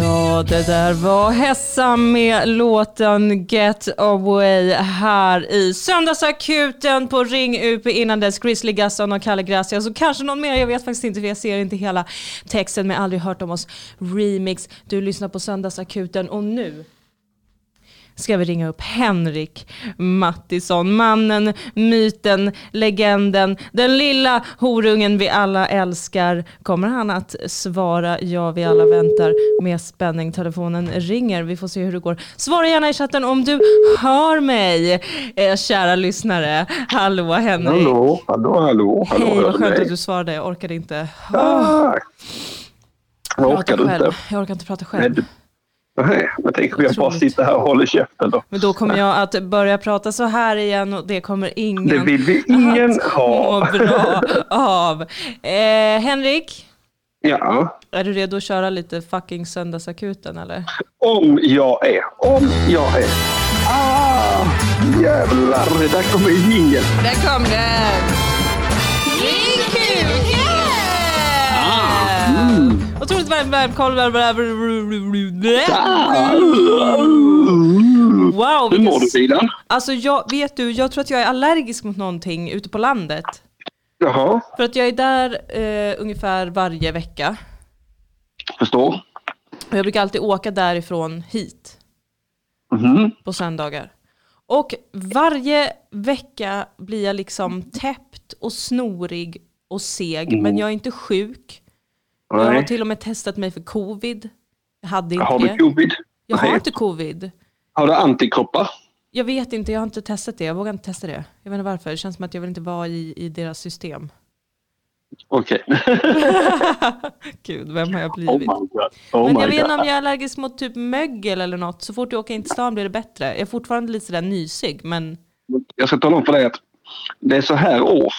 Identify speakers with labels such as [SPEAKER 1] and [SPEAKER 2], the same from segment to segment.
[SPEAKER 1] Ja, det där var Hessa med låten Get Away här i Söndagsakuten på Ring UP innan dess Grizzly Gasson och Kalle Gracia så kanske någon mer. Jag vet faktiskt inte för jag ser inte hela texten men aldrig hört om oss remix. Du lyssnar på Söndagsakuten och nu ska vi ringa upp Henrik Mattisson. Mannen, myten, legenden, den lilla horungen vi alla älskar. Kommer han att svara ja, vi alla väntar med spänning. Telefonen ringer, vi får se hur det går. Svara gärna i chatten om du hör mig, eh, kära lyssnare. Hallå Henrik.
[SPEAKER 2] Hallå, hallå, hallå. hallå
[SPEAKER 1] Hej, vad
[SPEAKER 2] hör
[SPEAKER 1] skönt
[SPEAKER 2] dig.
[SPEAKER 1] att du svarade. Jag orkade inte.
[SPEAKER 2] Ah, jag
[SPEAKER 1] prata
[SPEAKER 2] orkar
[SPEAKER 1] själv.
[SPEAKER 2] inte.
[SPEAKER 1] Jag orkar inte prata själv.
[SPEAKER 2] Men, du- nej, men tänk om jag bara
[SPEAKER 1] Otroligt.
[SPEAKER 2] sitter här och håller käften då.
[SPEAKER 1] Men då kommer jag att börja prata så här igen och det kommer ingen
[SPEAKER 2] Det vill vi ingen
[SPEAKER 1] att
[SPEAKER 2] ha.
[SPEAKER 1] må bra av. Eh, Henrik,
[SPEAKER 2] Ja,
[SPEAKER 1] är du redo att köra lite fucking söndagsakuten eller?
[SPEAKER 2] om jag är. Om jag är. Ah, jävlar, där kommer jingeln.
[SPEAKER 1] Där kom den! Ring kuken! Ah. Otroligt varmt välkommen. Wow,
[SPEAKER 2] Ah. Hur
[SPEAKER 1] vilken
[SPEAKER 2] mår du, Fidan?
[SPEAKER 1] Alltså jag, vet du, jag tror att jag är allergisk mot någonting ute på landet.
[SPEAKER 2] Jaha,
[SPEAKER 1] För att jag är där eh, ungefär varje vecka.
[SPEAKER 2] förstår.
[SPEAKER 1] Och jag brukar alltid åka därifrån hit
[SPEAKER 2] Mhm.
[SPEAKER 1] på söndagar. Och varje vecka blir jag liksom täppt och snorig och seg. Men jag är inte sjuk. Jag har
[SPEAKER 2] Mm.
[SPEAKER 1] typ
[SPEAKER 2] Nej.
[SPEAKER 1] till och med testat mig för covid. Jag hade inte
[SPEAKER 2] Har
[SPEAKER 1] det.
[SPEAKER 2] du covid?
[SPEAKER 1] Jag har typ-
[SPEAKER 2] Nej.
[SPEAKER 1] inte covid.
[SPEAKER 2] Har du antikroppar?
[SPEAKER 1] Jag vet inte, jag har inte testat det. Jag vågar inte testa det. Jag vet inte varför. Det känns som att jag vill inte vara i, i deras system.
[SPEAKER 2] Okej.
[SPEAKER 1] Gud, vem har jag
[SPEAKER 2] Oh
[SPEAKER 1] blivit?
[SPEAKER 2] my god. Oh
[SPEAKER 1] Men jag
[SPEAKER 2] my
[SPEAKER 1] vet inte om
[SPEAKER 2] god.
[SPEAKER 1] jag är allergisk mot typ mögel eller något. Så fort jag åker in till stan blir det bättre. Jag är fortfarande lite sådär nysig, men
[SPEAKER 2] Jag ska tala om för dig att det är så här års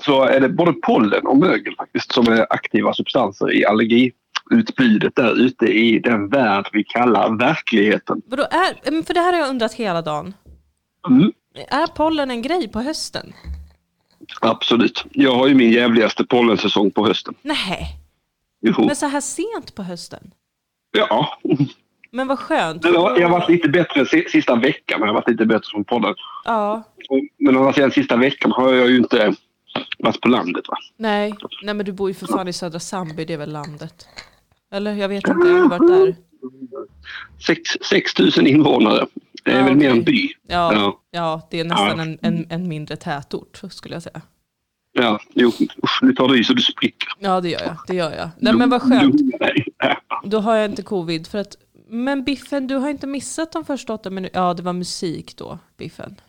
[SPEAKER 2] så är det både pollen och mögel faktiskt som är aktiva substanser i allergiutbudet där ute i den värld vi kallar verkligheten.
[SPEAKER 1] vadå är, men för det här har jag undrat hela dagen.
[SPEAKER 2] Mm,
[SPEAKER 1] Är pollen en grej på hösten?
[SPEAKER 2] absolut. Jag har ju min jävligaste pollensäsong på hösten.
[SPEAKER 1] Nej,
[SPEAKER 2] Jo.
[SPEAKER 1] men så här sent på hösten?
[SPEAKER 2] Ja.
[SPEAKER 1] Men vad skönt.
[SPEAKER 2] Men Jag har jag har varit lite bättre si- sista veckan, men jag har varit lite bättre från podden.
[SPEAKER 1] Ja,
[SPEAKER 2] Men å andra sidan sista veckan har jag ju inte varit på landet. Va?
[SPEAKER 1] nej. Nej men du bor ju för fan i södra Sandby, det är väl landet? Eller jag vet inte, jag har aldrig varit där.
[SPEAKER 2] 6, 6 000 invånare. Det är
[SPEAKER 1] Ja,
[SPEAKER 2] väl mer
[SPEAKER 1] okej.
[SPEAKER 2] en by.
[SPEAKER 1] Ja,
[SPEAKER 2] Ja.
[SPEAKER 1] ja det är nästan en, en, en mindre tätort skulle jag säga.
[SPEAKER 2] Ja, jo, usch, nu tar du i så du spricker.
[SPEAKER 1] Ja det gör jag, det gör jag. Nej men vad skönt.
[SPEAKER 2] Nej, nej.
[SPEAKER 1] Då har jag inte covid. För att, men Biffen, du har inte missat de första åtta minuterna. Ja, det var musik då, Biffen.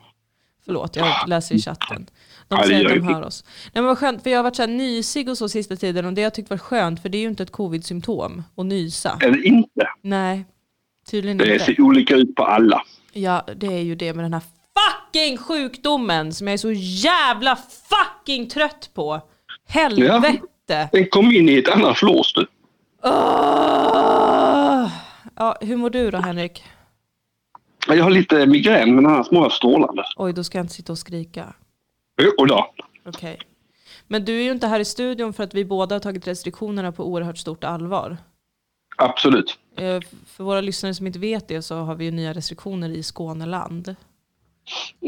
[SPEAKER 1] Förlåt, jag läser i chatten. De
[SPEAKER 2] Ja, det
[SPEAKER 1] säger att
[SPEAKER 2] gör
[SPEAKER 1] de
[SPEAKER 2] ingenting.
[SPEAKER 1] hör oss. Nej, men vad skönt, för jag har varit så här nysig och så sista tiden och det har jag tyckt var skönt, för det är ju inte ett covid-symptom att nysa.
[SPEAKER 2] Eller inte.
[SPEAKER 1] Nej, tydligen
[SPEAKER 2] Det
[SPEAKER 1] inte.
[SPEAKER 2] ser olika ut på alla.
[SPEAKER 1] Ja, det är ju det med den här fucking sjukdomen som jag är så jävla fucking trött på. Helvete!
[SPEAKER 2] Den kom in i ett annat flås du.
[SPEAKER 1] Åh! Ja, hur mår du då Henrik?
[SPEAKER 2] Jag har lite migrän men annars mår jag strålande.
[SPEAKER 1] Oj, då ska jag inte sitta och skrika.
[SPEAKER 2] Och då.
[SPEAKER 1] Okej. Men du är ju inte här i studion för att vi båda har tagit restriktionerna på oerhört stort allvar.
[SPEAKER 2] Absolut.
[SPEAKER 1] Eh, För våra lyssnare som inte vet det så har vi ju nya restriktioner i Skåneland.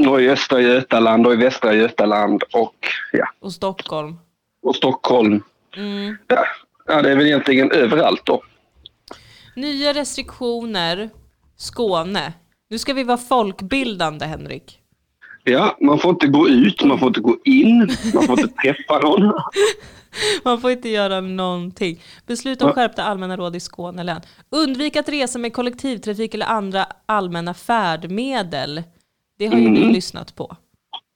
[SPEAKER 2] Och i Östra Götaland och i Västra Götaland och, ja,
[SPEAKER 1] Och Stockholm.
[SPEAKER 2] och Stockholm.
[SPEAKER 1] Mm.
[SPEAKER 2] Ja. ja, det är väl egentligen överallt då.
[SPEAKER 1] Nya restriktioner, Skåne. Nu ska vi vara folkbildande Henrik.
[SPEAKER 2] Ja, man får inte gå ut, man får inte gå in, man får inte träffa någon.
[SPEAKER 1] Man får inte göra någonting. Beslut om skärpta allmänna råd i Skåne län. Undvik att resa med kollektivtrafik eller andra allmänna färdmedel. Det har ju vi lyssnat på.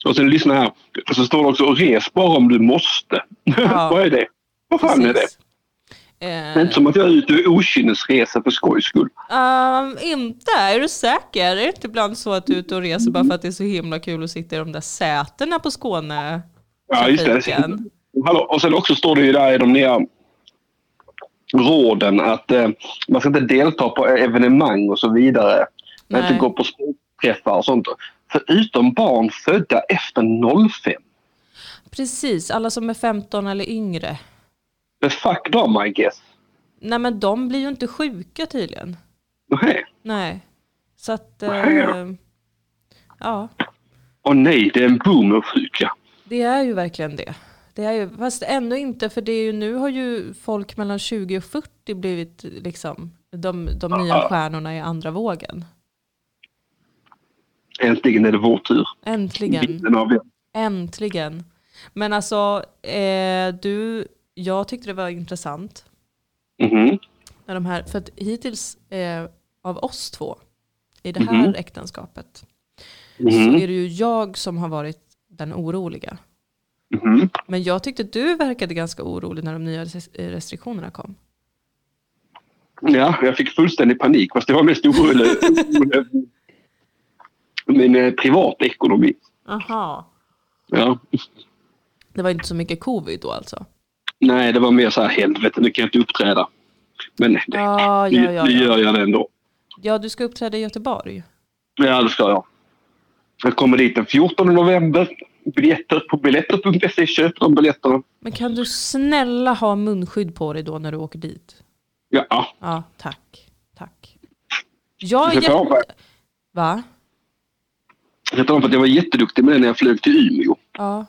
[SPEAKER 2] Och sen lyssna här. Så står det också res bara om du måste.
[SPEAKER 1] Ja.
[SPEAKER 2] Vad är det? Vad fan är det?
[SPEAKER 1] Precis.
[SPEAKER 2] Det är
[SPEAKER 1] Eh,
[SPEAKER 2] inte som att jag är ute och okynnesreser för skojs skull.
[SPEAKER 1] ehm, inte? Är du säker? Är det inte ibland så att du är ute och reser bara för att det är så himla kul att sitta i de där sätena på Skåne?
[SPEAKER 2] Ja, just det.
[SPEAKER 1] Trafiken.
[SPEAKER 2] Hallå. Och sen också står det ju där i de nya råden att eh, man ska inte delta på evenemang och så vidare. Man
[SPEAKER 1] Nej.
[SPEAKER 2] inte gå på sportträffar och sånt. Förutom barn födda efter 05.
[SPEAKER 1] Precis, alla som är 15 eller yngre.
[SPEAKER 2] The fuck dem, I guess.
[SPEAKER 1] nej men de blir ju inte sjuka tydligen.
[SPEAKER 2] Nej.
[SPEAKER 1] Nej. Så att,
[SPEAKER 2] Nej.
[SPEAKER 1] eh, ja,
[SPEAKER 2] Och nej, det är en boomersjuka.
[SPEAKER 1] det är ju verkligen det. det är ju, fast ändå inte, för det är ju, nu har ju folk mellan 20 och 40 blivit liksom, de, de nya
[SPEAKER 2] Ja.
[SPEAKER 1] stjärnorna i andra vågen.
[SPEAKER 2] Äntligen är det vår tur.
[SPEAKER 1] Äntligen.
[SPEAKER 2] Bilden av det.
[SPEAKER 1] Äntligen. Men alltså, eh, du, jag tyckte det var intressant.
[SPEAKER 2] Mhm.
[SPEAKER 1] När de här, för att hittills eh, av oss två i det här
[SPEAKER 2] Mhm.
[SPEAKER 1] äktenskapet
[SPEAKER 2] Mhm.
[SPEAKER 1] så är det ju jag som har varit den oroliga.
[SPEAKER 2] Mhm.
[SPEAKER 1] Men jag tyckte du verkade ganska orolig när de nya res- eh, restriktionerna kom.
[SPEAKER 2] Ja, jag fick fullständig panik. Fast det var mest orolig orolig över min eh, privatekonomi.
[SPEAKER 1] Aha.
[SPEAKER 2] Ja.
[SPEAKER 1] Det var inte så mycket covid då alltså?
[SPEAKER 2] Nej, det var mer så här helvete, nu kan jag inte uppträda. Men det,
[SPEAKER 1] Ja,
[SPEAKER 2] nu,
[SPEAKER 1] ja, ja,
[SPEAKER 2] nu
[SPEAKER 1] ja.
[SPEAKER 2] gör jag det ändå.
[SPEAKER 1] Ja, du ska uppträda i Göteborg.
[SPEAKER 2] Ja, det ska jag. Jag kommer dit den 14 november. Biljetter på biljetter.se. Köp de biljetterna.
[SPEAKER 1] Men kan du snälla ha munskydd på dig då när du åker dit?
[SPEAKER 2] Ja,
[SPEAKER 1] Ja, tack. Tack. Jag är
[SPEAKER 2] Sätta av,
[SPEAKER 1] jätte... Va?
[SPEAKER 2] jag tar om för att jag var jätteduktig med det när jag flög till Umeå.
[SPEAKER 1] Ja.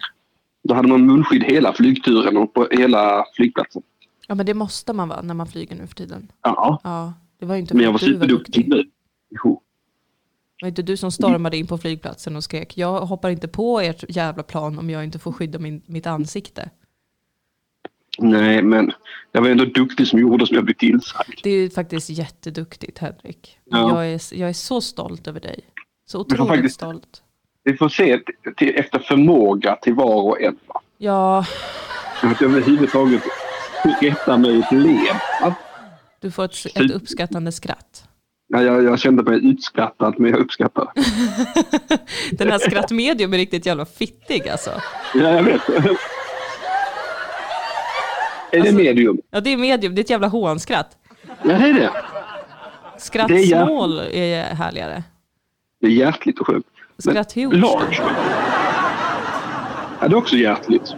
[SPEAKER 2] Då hade man munskydd hela flygturen och på hela flygplatsen.
[SPEAKER 1] ja, men det måste man va, när man flyger nu för tiden?
[SPEAKER 2] Ja,
[SPEAKER 1] Ja, det var ju inte
[SPEAKER 2] men
[SPEAKER 1] för
[SPEAKER 2] jag var
[SPEAKER 1] att du
[SPEAKER 2] superduktig
[SPEAKER 1] duktig.
[SPEAKER 2] nu. Jo.
[SPEAKER 1] Det var inte du som stormade in på flygplatsen och skrek jag hoppar inte på ert jävla plan om jag inte får skydda min, mitt ansikte.
[SPEAKER 2] Nej, men jag var ändå duktig som gjorde som jag blev tillsagd.
[SPEAKER 1] Det är ju faktiskt jätteduktigt Henrik.
[SPEAKER 2] Ja.
[SPEAKER 1] Jag, är, jag är så stolt över dig. Så
[SPEAKER 2] får
[SPEAKER 1] otroligt
[SPEAKER 2] faktiskt-
[SPEAKER 1] stolt.
[SPEAKER 2] Vi får se t- till, efter förmåga till var och en. va?
[SPEAKER 1] Ja,
[SPEAKER 2] Att jag överhuvudtaget rätta mig i ett led. va?
[SPEAKER 1] du får ett, ett uppskattande skratt.
[SPEAKER 2] Ja, jag, jag kände mig utskrattad, men jag uppskattar.
[SPEAKER 1] Den här skrattmedium är riktigt jävla fittig alltså.
[SPEAKER 2] Ja, jag vet. Är det medium?
[SPEAKER 1] Ja, det är medium, det är ett jävla hånskratt.
[SPEAKER 2] Ja, det är det. Det är jag.
[SPEAKER 1] Skrattsmål är härligare.
[SPEAKER 2] Det är hjärtligt och skönt. Men
[SPEAKER 1] Skratt huge.
[SPEAKER 2] Large. Ja, det är också hjärtligt.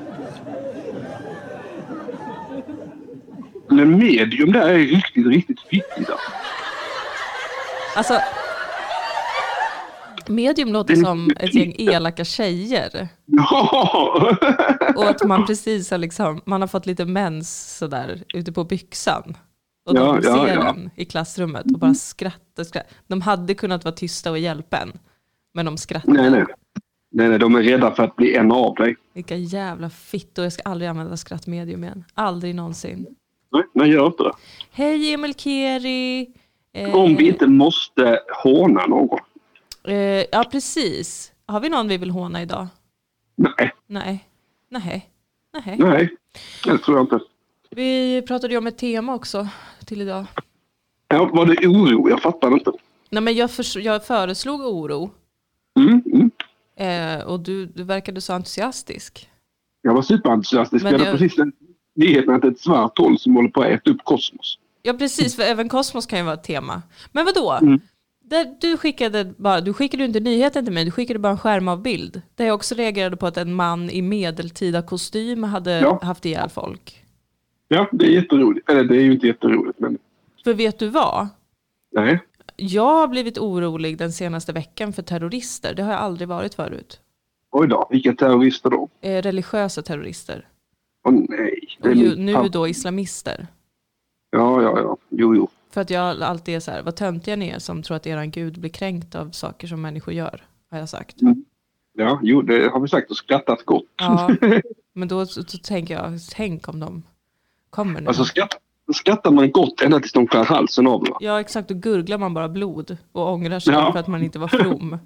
[SPEAKER 2] Men medium där är riktigt, riktigt fittigt. alltså.
[SPEAKER 1] Alltså, medium låter
[SPEAKER 2] Det är
[SPEAKER 1] som ett gäng elaka tjejer.
[SPEAKER 2] Ja!
[SPEAKER 1] Och att man precis har, liksom, man har fått lite mens sådär ute på byxan. Och
[SPEAKER 2] Ja,
[SPEAKER 1] de
[SPEAKER 2] ja,
[SPEAKER 1] ser
[SPEAKER 2] ja.
[SPEAKER 1] en i klassrummet och bara skrattar, skrattar. De hade kunnat vara tysta och hjälpa en. Men de skrattar.
[SPEAKER 2] Nej, nej. Nej, nej, de är rädda för att bli en av dig.
[SPEAKER 1] Vilka jävla fittor. Jag ska aldrig använda skrattmedium igen. Aldrig någonsin.
[SPEAKER 2] Nej, nej gör inte det.
[SPEAKER 1] Hej Emil Keri. Eh,
[SPEAKER 2] Om vi inte måste håna någon.
[SPEAKER 1] Eh, ja, precis. Har vi någon vi vill håna idag?
[SPEAKER 2] Nej,
[SPEAKER 1] Nej. Nej. Nej.
[SPEAKER 2] nej. Det tror jag inte.
[SPEAKER 1] Vi pratade ju om ett tema också till idag.
[SPEAKER 2] Ja, var det oro? Jag fattar inte.
[SPEAKER 1] Nej, men jag, förs- jag föreslog oro
[SPEAKER 2] Mm, mm.
[SPEAKER 1] eh, och du, du verkade så entusiastisk.
[SPEAKER 2] Jag var superentusiastisk.
[SPEAKER 1] Men
[SPEAKER 2] Jag hade
[SPEAKER 1] jag-
[SPEAKER 2] precis den nyheten att det är ett svart hål som håller på att äta upp kosmos.
[SPEAKER 1] Ja, precis, för även kosmos kan ju vara ett tema. Men vadå? Där, du, skickade bara, du skickade ju inte nyheten till mig, du skickade bara en skärmavbild. Där jag också reagerade på att en man i medeltida kostym hade
[SPEAKER 2] Ja.
[SPEAKER 1] haft ihjäl folk.
[SPEAKER 2] Ja, det är jätteroligt. Eller det är ju inte jätteroligt, men
[SPEAKER 1] För vet du vad?
[SPEAKER 2] nej.
[SPEAKER 1] Jag har blivit orolig den senaste veckan för terrorister. Det har jag aldrig varit förut.
[SPEAKER 2] Oj då, vilka terrorister då?
[SPEAKER 1] Eh, religiösa terrorister.
[SPEAKER 2] Åh nej. Det är
[SPEAKER 1] Och ju,
[SPEAKER 2] min
[SPEAKER 1] nu
[SPEAKER 2] pappa.
[SPEAKER 1] då islamister.
[SPEAKER 2] Ja, ja, ja. Jo, jo.
[SPEAKER 1] För att jag alltid är så här, vad töntiga ni är som tror att eran gud blir kränkt av saker som människor gör. Har jag sagt.
[SPEAKER 2] Ja, jo, det har vi sagt och skrattat gott.
[SPEAKER 1] Ja, men då så, så tänker jag, tänk om de kommer nu.
[SPEAKER 2] Alltså skratt, skrattar man gott ända tills de skär halsen av en, va?
[SPEAKER 1] Ja exakt, då gurglar man bara blod och ångrar sig
[SPEAKER 2] Ja.
[SPEAKER 1] för att man inte var from.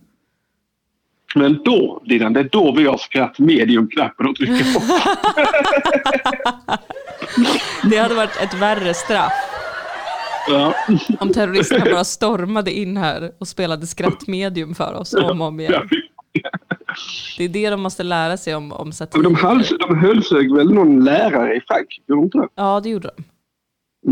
[SPEAKER 2] Men då, Lidan, det är då vi har skratt medium-knappen och trycker på.
[SPEAKER 1] Det hade varit ett värre straff
[SPEAKER 2] Ja.
[SPEAKER 1] om terroristerna bara stormade in här och spelade skrattmedium för oss om och om igen.
[SPEAKER 2] Ja.
[SPEAKER 1] Det är det de måste lära sig om, om satir.
[SPEAKER 2] Men de, hals, de hölsög väl någon lärare i fack? Gjorde de inte det?
[SPEAKER 1] Ja, det gjorde de.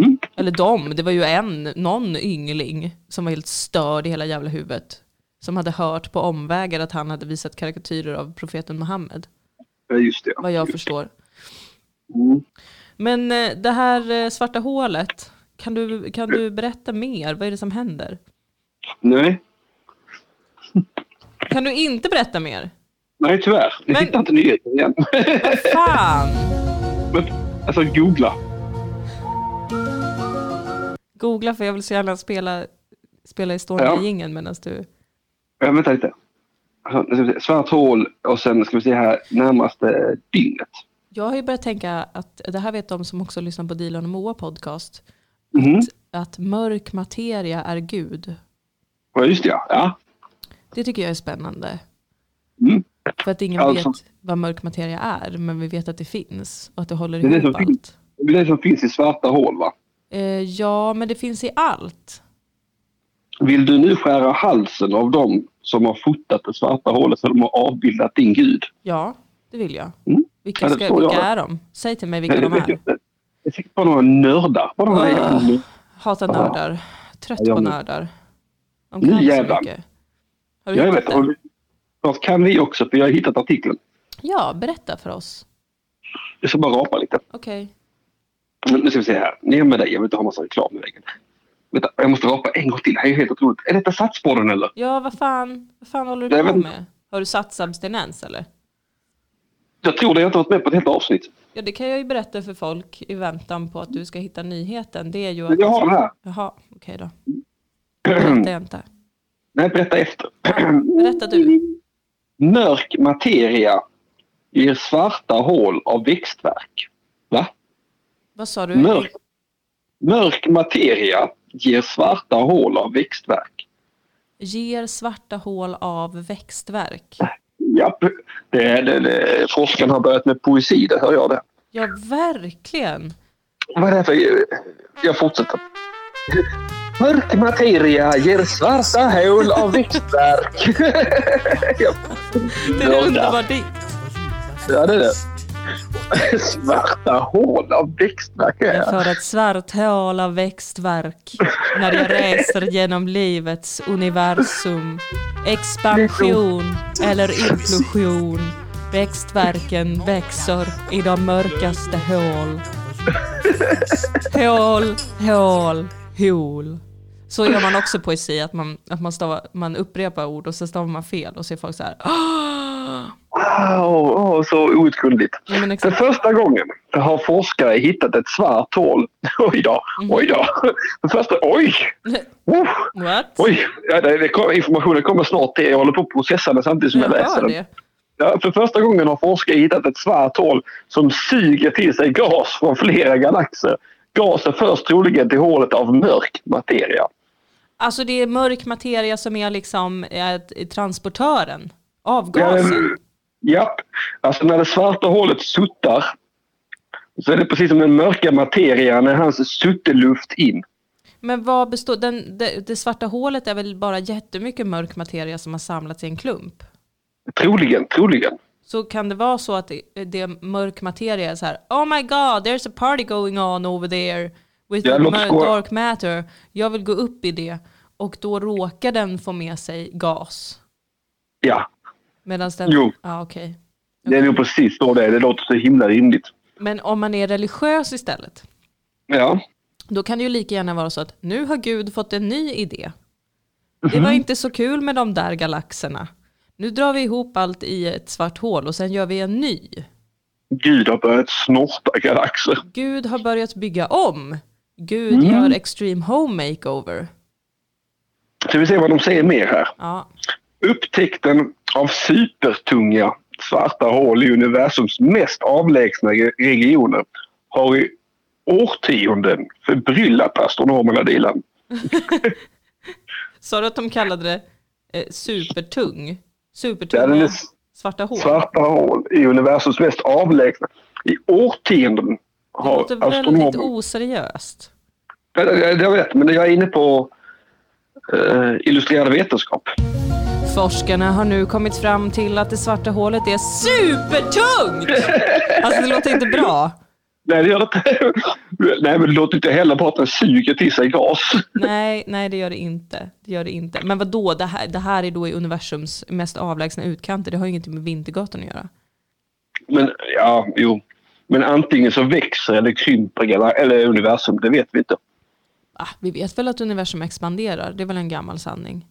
[SPEAKER 2] Mm.
[SPEAKER 1] Eller de, det var ju en, någon yngling som var helt störd i hela jävla huvudet. Som hade hört på omvägar att han hade visat karikatyrer av profeten Muhammed.
[SPEAKER 2] Ja, just det.
[SPEAKER 1] Vad jag
[SPEAKER 2] Just det.
[SPEAKER 1] förstår.
[SPEAKER 2] Mm.
[SPEAKER 1] Men eh, det här eh, svarta hålet Kan du, kan du berätta mer? Vad är det som händer?
[SPEAKER 2] Nej,
[SPEAKER 1] Kan du inte berätta mer?
[SPEAKER 2] nej tyvärr. Ni
[SPEAKER 1] Men-
[SPEAKER 2] hittar inte nyheten igen.
[SPEAKER 1] Vad fan!
[SPEAKER 2] Men, alltså googla.
[SPEAKER 1] Googla för jag vill så gärna spela, spela Estonia-jingeln medan du...
[SPEAKER 2] Ja, vänta lite. Alltså, nu ska vi se. Svart hål och sen ska vi se här närmaste dygnet.
[SPEAKER 1] Jag har ju börjat tänka att, det här vet de som också lyssnar på Dilan och Moa podcast,
[SPEAKER 2] Mhm.
[SPEAKER 1] att mörk materia är gud.
[SPEAKER 2] Ja, just det ja. ja.
[SPEAKER 1] Det tycker jag är spännande.
[SPEAKER 2] Mm.
[SPEAKER 1] För att ingen
[SPEAKER 2] Alltså-
[SPEAKER 1] vet vad mörk materia är, men vi vet att det finns och att det håller
[SPEAKER 2] Det är det
[SPEAKER 1] ihop
[SPEAKER 2] som
[SPEAKER 1] allt.
[SPEAKER 2] finns. Det är det som finns i svarta hål va?
[SPEAKER 1] Eh, ja, men det finns i allt.
[SPEAKER 2] Vill du nu skära halsen av dem som har fotat det svarta hålet så de har avbildat din gud?
[SPEAKER 1] Ja, det vill jag.
[SPEAKER 2] Mm.
[SPEAKER 1] Vilka,
[SPEAKER 2] Ja, det
[SPEAKER 1] ska,
[SPEAKER 2] förstår jag.
[SPEAKER 1] vilka är de? Säg till mig vilka
[SPEAKER 2] Nej,
[SPEAKER 1] de
[SPEAKER 2] det vet jag
[SPEAKER 1] är.
[SPEAKER 2] inte. Det är säkert bara några nördar. Bara några
[SPEAKER 1] Ah.
[SPEAKER 2] jävla nördar.
[SPEAKER 1] Hatar nördar. Trött
[SPEAKER 2] Ja, jag
[SPEAKER 1] på
[SPEAKER 2] med.
[SPEAKER 1] nördar. De
[SPEAKER 2] Nu
[SPEAKER 1] kan inte så
[SPEAKER 2] jävlar.
[SPEAKER 1] mycket. Har du
[SPEAKER 2] Jag
[SPEAKER 1] hittat
[SPEAKER 2] vet,
[SPEAKER 1] den?
[SPEAKER 2] och snart kan vi också för jag har hittat artikeln.
[SPEAKER 1] Ja, berätta för oss.
[SPEAKER 2] Jag ska bara rapa lite.
[SPEAKER 1] Okej.
[SPEAKER 2] Men Nu ska vi se här. Ner med dig. Jag vill inte ha massa reklam i väggen. Vänta, jag måste rapa en gång till. Det här är helt otroligt. Är detta Satsborren eller?
[SPEAKER 1] Ja, vad fan, vad fan håller
[SPEAKER 2] Nej,
[SPEAKER 1] du på
[SPEAKER 2] men-
[SPEAKER 1] med? Har du satt substinens eller?
[SPEAKER 2] Jag tror det. Jag har inte varit med på ett helt avsnitt.
[SPEAKER 1] Ja, det kan jag ju berätta för folk i väntan på att du ska hitta nyheten. Det är ju
[SPEAKER 2] Men jag har den här.
[SPEAKER 1] Jaha, okej då.
[SPEAKER 2] Mm.
[SPEAKER 1] Berätta jag inte.
[SPEAKER 2] Nej, berätta efter.
[SPEAKER 1] Berätta du.
[SPEAKER 2] Mörk materia ger svarta hål av växtverk. Va?
[SPEAKER 1] Vad sa du?
[SPEAKER 2] Mörk, mörk materia ger svarta hål av växtverk.
[SPEAKER 1] Ger svarta hål av växtverk.
[SPEAKER 2] Japp, det, är- det, det, forskaren har börjat med poesi, det hör jag det.
[SPEAKER 1] Ja, verkligen.
[SPEAKER 2] Vad är det för... Jag fortsätter. Mörk materia ger svarta hål av växtverk. Ja.
[SPEAKER 1] Det är en underbar dikt.
[SPEAKER 2] Ja, det är det. Svarta hål av växtverk är det.
[SPEAKER 1] För ett svart hål av växtverk. När jag reser genom livets universum. Expansion eller implosion. Växtverken växer i de mörkaste hål. Hål, hål, hål. Så gör man också poesi, att man, att man, stavar, man upprepar ord och sen stavar man fel och så är folk så här. "Ah!"
[SPEAKER 2] Wow, åh, så outgrundligt.
[SPEAKER 1] Ja, men
[SPEAKER 2] För
[SPEAKER 1] exakt.
[SPEAKER 2] första gången har forskare hittat ett svart hål. Oj då, oj då. För första, oj! Oh,
[SPEAKER 1] What?
[SPEAKER 2] oj! Ja, det, det, kom- informationen kommer snart till. Jag håller på att processa den samtidigt som jag,
[SPEAKER 1] Jag
[SPEAKER 2] läser
[SPEAKER 1] hör
[SPEAKER 2] den.
[SPEAKER 1] det.
[SPEAKER 2] Ja, för första gången har forskare hittat ett svart hål som suger till sig gas från flera galaxer. Gasen förs troligen till hålet av mörk materia.
[SPEAKER 1] Alltså det är mörk materia som är liksom eh, transportören av
[SPEAKER 2] Eh,
[SPEAKER 1] gasen.
[SPEAKER 2] Japp. Alltså när det svarta hålet suttar så är det precis som den mörka materian när hans sutteluft in.
[SPEAKER 1] Men vad består, den, det, det svarta hålet är väl bara jättemycket mörk materia som har samlats i en klump?
[SPEAKER 2] Troligen, troligen.
[SPEAKER 1] Så kan det vara så att det, det är mörk materia är så här, oh my god, there's a party going on over there with
[SPEAKER 2] Ja, låt oss
[SPEAKER 1] mör-
[SPEAKER 2] gå."
[SPEAKER 1] dark matter, jag vill gå upp i det. Och då råkar den få med sig gas.
[SPEAKER 2] Ja,
[SPEAKER 1] Medan den...
[SPEAKER 2] Jo.
[SPEAKER 1] Ja, okej.
[SPEAKER 2] det är nog precis så det är. Det låter så himla rimligt.
[SPEAKER 1] Men om man är religiös istället,
[SPEAKER 2] Ja,
[SPEAKER 1] Då kan det ju lika gärna vara så att nu har Gud fått en ny idé.
[SPEAKER 2] Mhm.
[SPEAKER 1] Det var inte så kul med de där galaxerna. Nu drar vi ihop allt i ett svart hål och sen gör vi en ny.
[SPEAKER 2] Gud har börjat snorta galaxer.
[SPEAKER 1] Gud har börjat bygga om. Gud
[SPEAKER 2] Mhm.
[SPEAKER 1] gör extreme home makeover.
[SPEAKER 2] Ska vi se vad de säger mer här.
[SPEAKER 1] Ja,
[SPEAKER 2] Upptäckten av supertunga svarta hål i universums mest avlägsna re- regioner har i årtionden förbryllat astronomerna Dilan.
[SPEAKER 1] sa du att de kallade det eh, supertung?
[SPEAKER 2] Ja, den
[SPEAKER 1] Supertunga
[SPEAKER 2] är s-
[SPEAKER 1] svarta hål?
[SPEAKER 2] svarta hål i universums mest avlägsna. I årtionden
[SPEAKER 1] det
[SPEAKER 2] har
[SPEAKER 1] låter väldigt
[SPEAKER 2] astronomer...
[SPEAKER 1] oseriöst.
[SPEAKER 2] Ja, ja, ja, Jag vet, men jag är inne på eh, illustrerad vetenskap.
[SPEAKER 1] Forskarna har nu kommit fram till att det svarta hålet är supertungt! Alltså det låter inte bra.
[SPEAKER 2] Nej, det gör det inte. Nej, men det låter inte heller bra att den suger till sig gas.
[SPEAKER 1] Nej, nej det gör det inte. Det gör det inte. Men vad då? Det här, det här är då i universums mest avlägsna utkanter. Det har ju ingenting med Vintergatan att göra.
[SPEAKER 2] Men ja, jo. Men antingen så växer eller krymper gala- eller universum, det vet vi inte.
[SPEAKER 1] ah, vi vet väl att universum expanderar, det är väl en gammal sanning.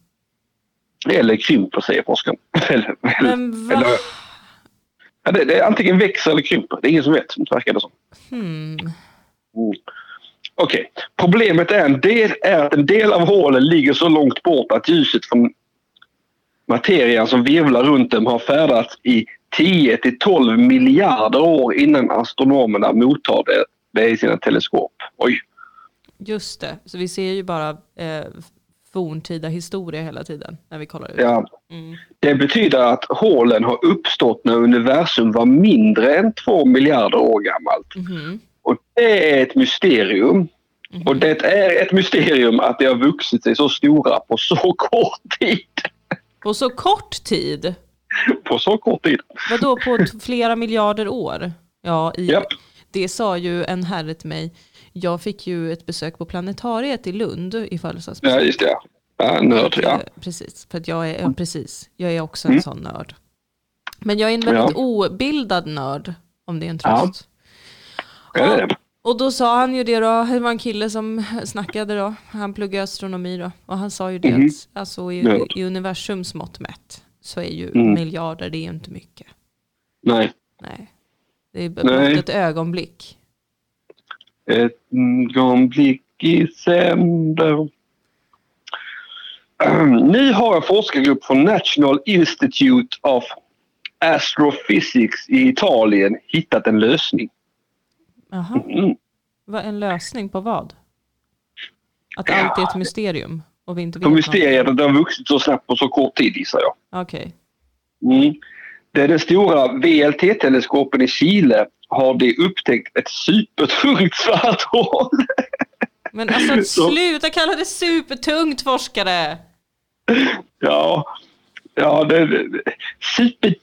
[SPEAKER 2] Eller krymper, säger forskaren. Eller,
[SPEAKER 1] Men va?
[SPEAKER 2] eller, ja, det, det, antingen växer eller krymper. Det är ingen som vet, verkar det som.
[SPEAKER 1] Hmm.
[SPEAKER 2] Mm. Okej, problemet är, en del, är att en del av hålen ligger så långt bort att ljuset från materian som virvlar runt dem har färdats i 10 till 12 miljarder år innan astronomerna mottar det, det i sina teleskop. Oj,
[SPEAKER 1] Just det, så vi ser ju bara eh, forntida historia hela tiden när vi kollar ut.
[SPEAKER 2] ja.
[SPEAKER 1] Mm.
[SPEAKER 2] Det betyder att hålen har uppstått när universum var mindre än 2 miljarder år gammalt.
[SPEAKER 1] Mhm.
[SPEAKER 2] Och det är ett mysterium. Och det är ett mysterium att det har vuxit sig så stora på så kort tid.
[SPEAKER 1] På så kort tid,
[SPEAKER 2] På så kort tid.
[SPEAKER 1] vadå på t- flera miljarder år? Ja, i,
[SPEAKER 2] Japp.
[SPEAKER 1] det sa ju en herre till mig. Jag fick ju ett besök på planetariet i Lund i födelsedagspresent.
[SPEAKER 2] Ja, just det. ja. Ja, nörd, ja. Mm.
[SPEAKER 1] Eh, Precis, för att jag är, ja, precis. Jag är också en sån nörd. Men jag är en väldigt obildad nörd, om det är en
[SPEAKER 2] Ja.
[SPEAKER 1] tröst.
[SPEAKER 2] Ja, det är det.
[SPEAKER 1] Och då sa han ju det då, det var en kille som snackade då, han pluggade astronomi då, och han sa ju det
[SPEAKER 2] Mhm.
[SPEAKER 1] att alltså, i,
[SPEAKER 2] Nörd.
[SPEAKER 1] i universums mått mätt så är ju
[SPEAKER 2] Mm.
[SPEAKER 1] miljarder, det är ju inte mycket.
[SPEAKER 2] Nej.
[SPEAKER 1] Nej, det är blott
[SPEAKER 2] Nej.
[SPEAKER 1] ett ögonblick.
[SPEAKER 2] Ett ögonblick i sänder. Ahem. Nu har en forskargrupp från National Institute of Astrophysics i Italien hittat en lösning.
[SPEAKER 1] Jaha,
[SPEAKER 2] Mm.
[SPEAKER 1] vad en lösning på vad? Att allt är ett mysterium och vi inte vet
[SPEAKER 2] På
[SPEAKER 1] något.
[SPEAKER 2] mysteriet att det har vuxit så snabbt på så kort tid gissar jag.
[SPEAKER 1] Okej.
[SPEAKER 2] Mm. Det är den stora VLT-teleskopen i Chile har de upptäckt ett supertungt svart hål.
[SPEAKER 1] Men alltså
[SPEAKER 2] Så-
[SPEAKER 1] sluta kalla det supertungt forskare!
[SPEAKER 2] Ja, ja det är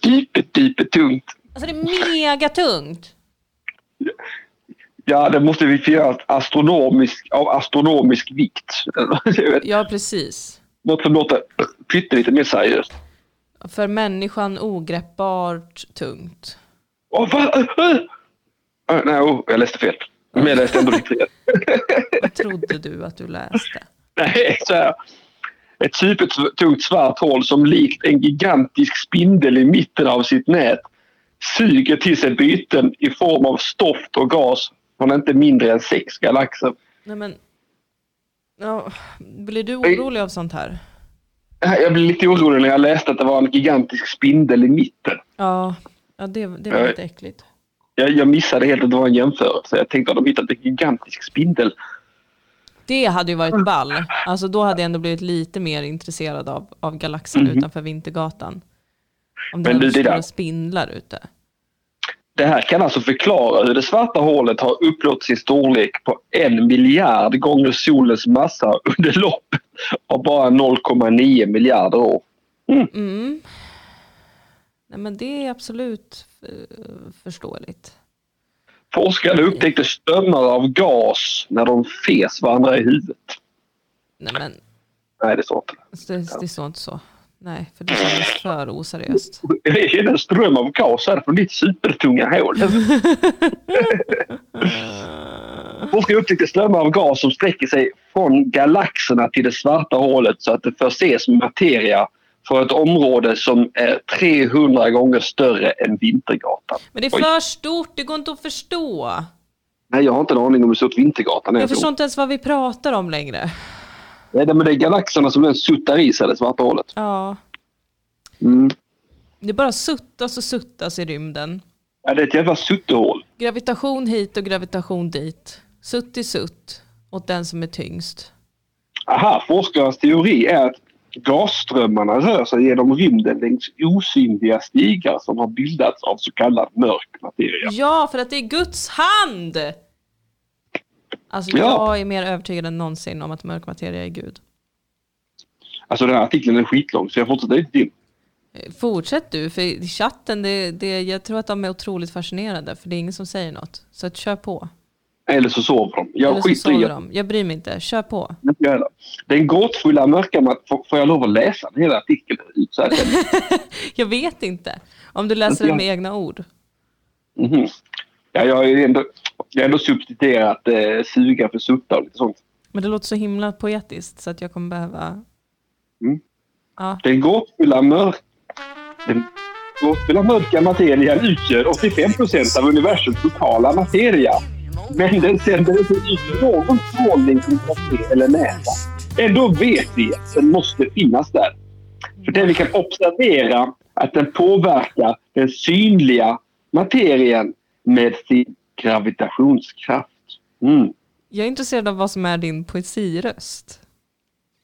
[SPEAKER 2] superduperdupertungt.
[SPEAKER 1] Alltså det är megatungt!
[SPEAKER 2] Ja, det måste vi få göra astronomisk, av astronomisk vikt. Jag vet,
[SPEAKER 1] Ja precis.
[SPEAKER 2] Något som låter pyttelite mer seriöst.
[SPEAKER 1] För människan ogreppbart tungt.
[SPEAKER 2] Åh, va? Äh, Nej, oh, jag läste fel. Men jag läste ändå riktigt rätt.
[SPEAKER 1] Vad trodde du att du läste?
[SPEAKER 2] Nej, så här. Ett supertungt svart hål som likt en gigantisk spindel i mitten av sitt nät suger till sig byten i form av stoft och gas från inte mindre än sex galaxer.
[SPEAKER 1] Nej men... Ja, blir du orolig av sånt här?
[SPEAKER 2] Äh, Jag blev lite orolig när jag läste att det var en gigantisk spindel i mitten.
[SPEAKER 1] Ja, ja det, det var
[SPEAKER 2] Nej.
[SPEAKER 1] lite äckligt.
[SPEAKER 2] Jag, jag missade helt att det var en jämförelse. Jag tänkte att de hittat en gigantisk spindel.
[SPEAKER 1] Det hade ju varit ball. Alltså då hade jag ändå blivit lite mer intresserad av, av galaxen utanför Vintergatan. Om det
[SPEAKER 2] Mhm. Men
[SPEAKER 1] hade
[SPEAKER 2] du, det
[SPEAKER 1] stora
[SPEAKER 2] där-
[SPEAKER 1] spindlar ute.
[SPEAKER 2] Det här kan alltså förklara hur det svarta hålet har uppnått sin storlek på en miljard gånger solens massa under loppet av bara 0,9 miljarder år.
[SPEAKER 1] Mm. Nej men det är absolut eh, förståeligt.
[SPEAKER 2] Forskarna upptäckte strömmar av gas när de fes varandra i huvudet.
[SPEAKER 1] Nej men
[SPEAKER 2] Nej, det står inte.
[SPEAKER 1] alltså, det, det står inte så. Nej, för det kändes för oseriöst.
[SPEAKER 2] Det är en ström av gas här från ditt supertunga hål. Forskare upptäckte strömmar av gas som sträcker sig från galaxerna till det svarta hålet så att det förses med materia för ett område som är 300 gånger större än Vintergatan.
[SPEAKER 1] Men det är
[SPEAKER 2] Oj.
[SPEAKER 1] för stort, det går inte att förstå.
[SPEAKER 2] Nej, jag har inte en aning om hur stort Vintergatan är.
[SPEAKER 1] Jag förstår inte ens vad vi pratar om längre.
[SPEAKER 2] Nej, men det är galaxerna som den suttar i sig, det svarta hålet.
[SPEAKER 1] Ja,
[SPEAKER 2] Mm.
[SPEAKER 1] det bara suttas och suttas i rymden.
[SPEAKER 2] Ja, det är ett jävla sutthål.
[SPEAKER 1] Gravitation hit och gravitation dit. Sutt i sutt åt den som är tyngst.
[SPEAKER 2] Aha, forskarnas teori är att gasströmmarna rör sig genom rymden längs osynliga stigar som har bildats av så kallad mörk materia.
[SPEAKER 1] Ja, för att det är Guds hand! Alltså
[SPEAKER 2] Ja.
[SPEAKER 1] jag är mer övertygad än någonsin om att mörk materia är Gud.
[SPEAKER 2] Alltså den här artikeln är skitlång så jag fortsätter inte till.
[SPEAKER 1] Eh, Fortsätt du, för i chatten, det, det, jag tror att de är otroligt fascinerade, för det är ingen som säger något. Så att kör på.
[SPEAKER 2] Eller så sover de.
[SPEAKER 1] Eller
[SPEAKER 2] Jag
[SPEAKER 1] så
[SPEAKER 2] skiter i
[SPEAKER 1] sågar
[SPEAKER 2] att
[SPEAKER 1] de. Jag bryr mig inte, kör på.
[SPEAKER 2] inte göra det. Den gåtfulla mörka mat... Får får jag lov att läsa den hela artikeln ut så här?
[SPEAKER 1] Jag vet inte, om du läser det med egna ord.
[SPEAKER 2] Mhm. Ja, jag har ju ändå, jag har ändå substituerat eh, suga för sutta och lite sånt.
[SPEAKER 1] Men det låter så himla poetiskt så att jag kommer behöva...
[SPEAKER 2] Mm.
[SPEAKER 1] Ja.
[SPEAKER 2] Den gåtfulla mörk... Den gåtfulla mörka materian utgör 85 procent av universums totala materia. Men den sänder inte ut någon strålning till kafé eller näsa. Ändå Eh, vet vi att den måste finnas där. För det vi kan observera att den påverkar den synliga materien med sin gravitationskraft. Mm.
[SPEAKER 1] Jag är intresserad av vad som är din poesiröst.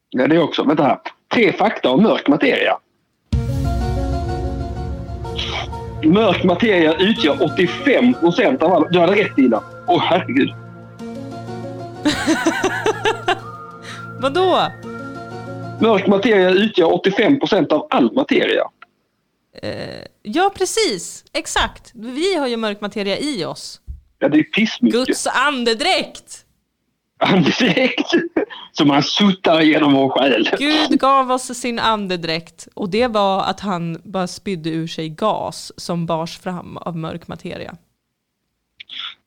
[SPEAKER 2] Ja, det är också. Vänta här. Tre fakta om mörk materia. Mörk materia utgör 85 procent av all... Du hade rätt, Ina. Åh, herregud.
[SPEAKER 1] Vadå?
[SPEAKER 2] Mörk materia utgör 85 procent av all materia.
[SPEAKER 1] Ja, precis. Exakt. Vi har ju mörk materia i oss.
[SPEAKER 2] Ja, det är pissmycket.
[SPEAKER 1] Guds andedräkt!
[SPEAKER 2] Andedräkt som man suttar genom vår själ.
[SPEAKER 1] Gud gav oss sin andedräkt och det var att han bara spydde ur sig gas som bars fram av mörk materia.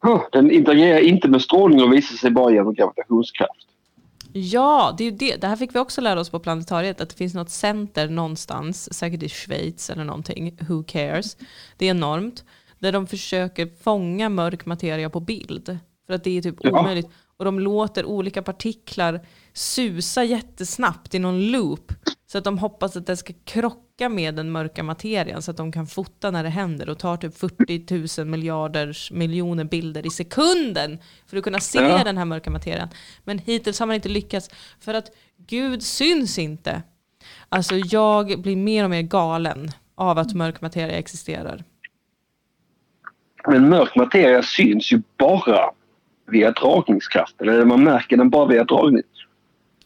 [SPEAKER 2] Huh, Den interagerar inte med strålning och visar sig bara genom gravitationskraft.
[SPEAKER 1] Ja, det är ju det. Det här fick vi också lära oss på planetariet, att det finns något center någonstans, säkert i Schweiz eller någonting, who cares. Det är enormt. Där de försöker fånga mörk materia på bild. För att det är typ
[SPEAKER 2] Ja.
[SPEAKER 1] omöjligt. Och de låter olika partiklar susa jättesnabbt i någon loop. Så att de hoppas att det ska krocka med den mörka materian så att de kan fota när det händer och tar typ 40 000 miljarders miljoner bilder i sekunden för att kunna se
[SPEAKER 2] Ja.
[SPEAKER 1] den här mörka materian. Men hittills har man inte lyckats för att Gud syns inte. Alltså jag blir mer och mer galen av att mörk materia existerar.
[SPEAKER 2] Men mörk materia syns ju bara via dragningskraften. Eller man märker den bara via dragning.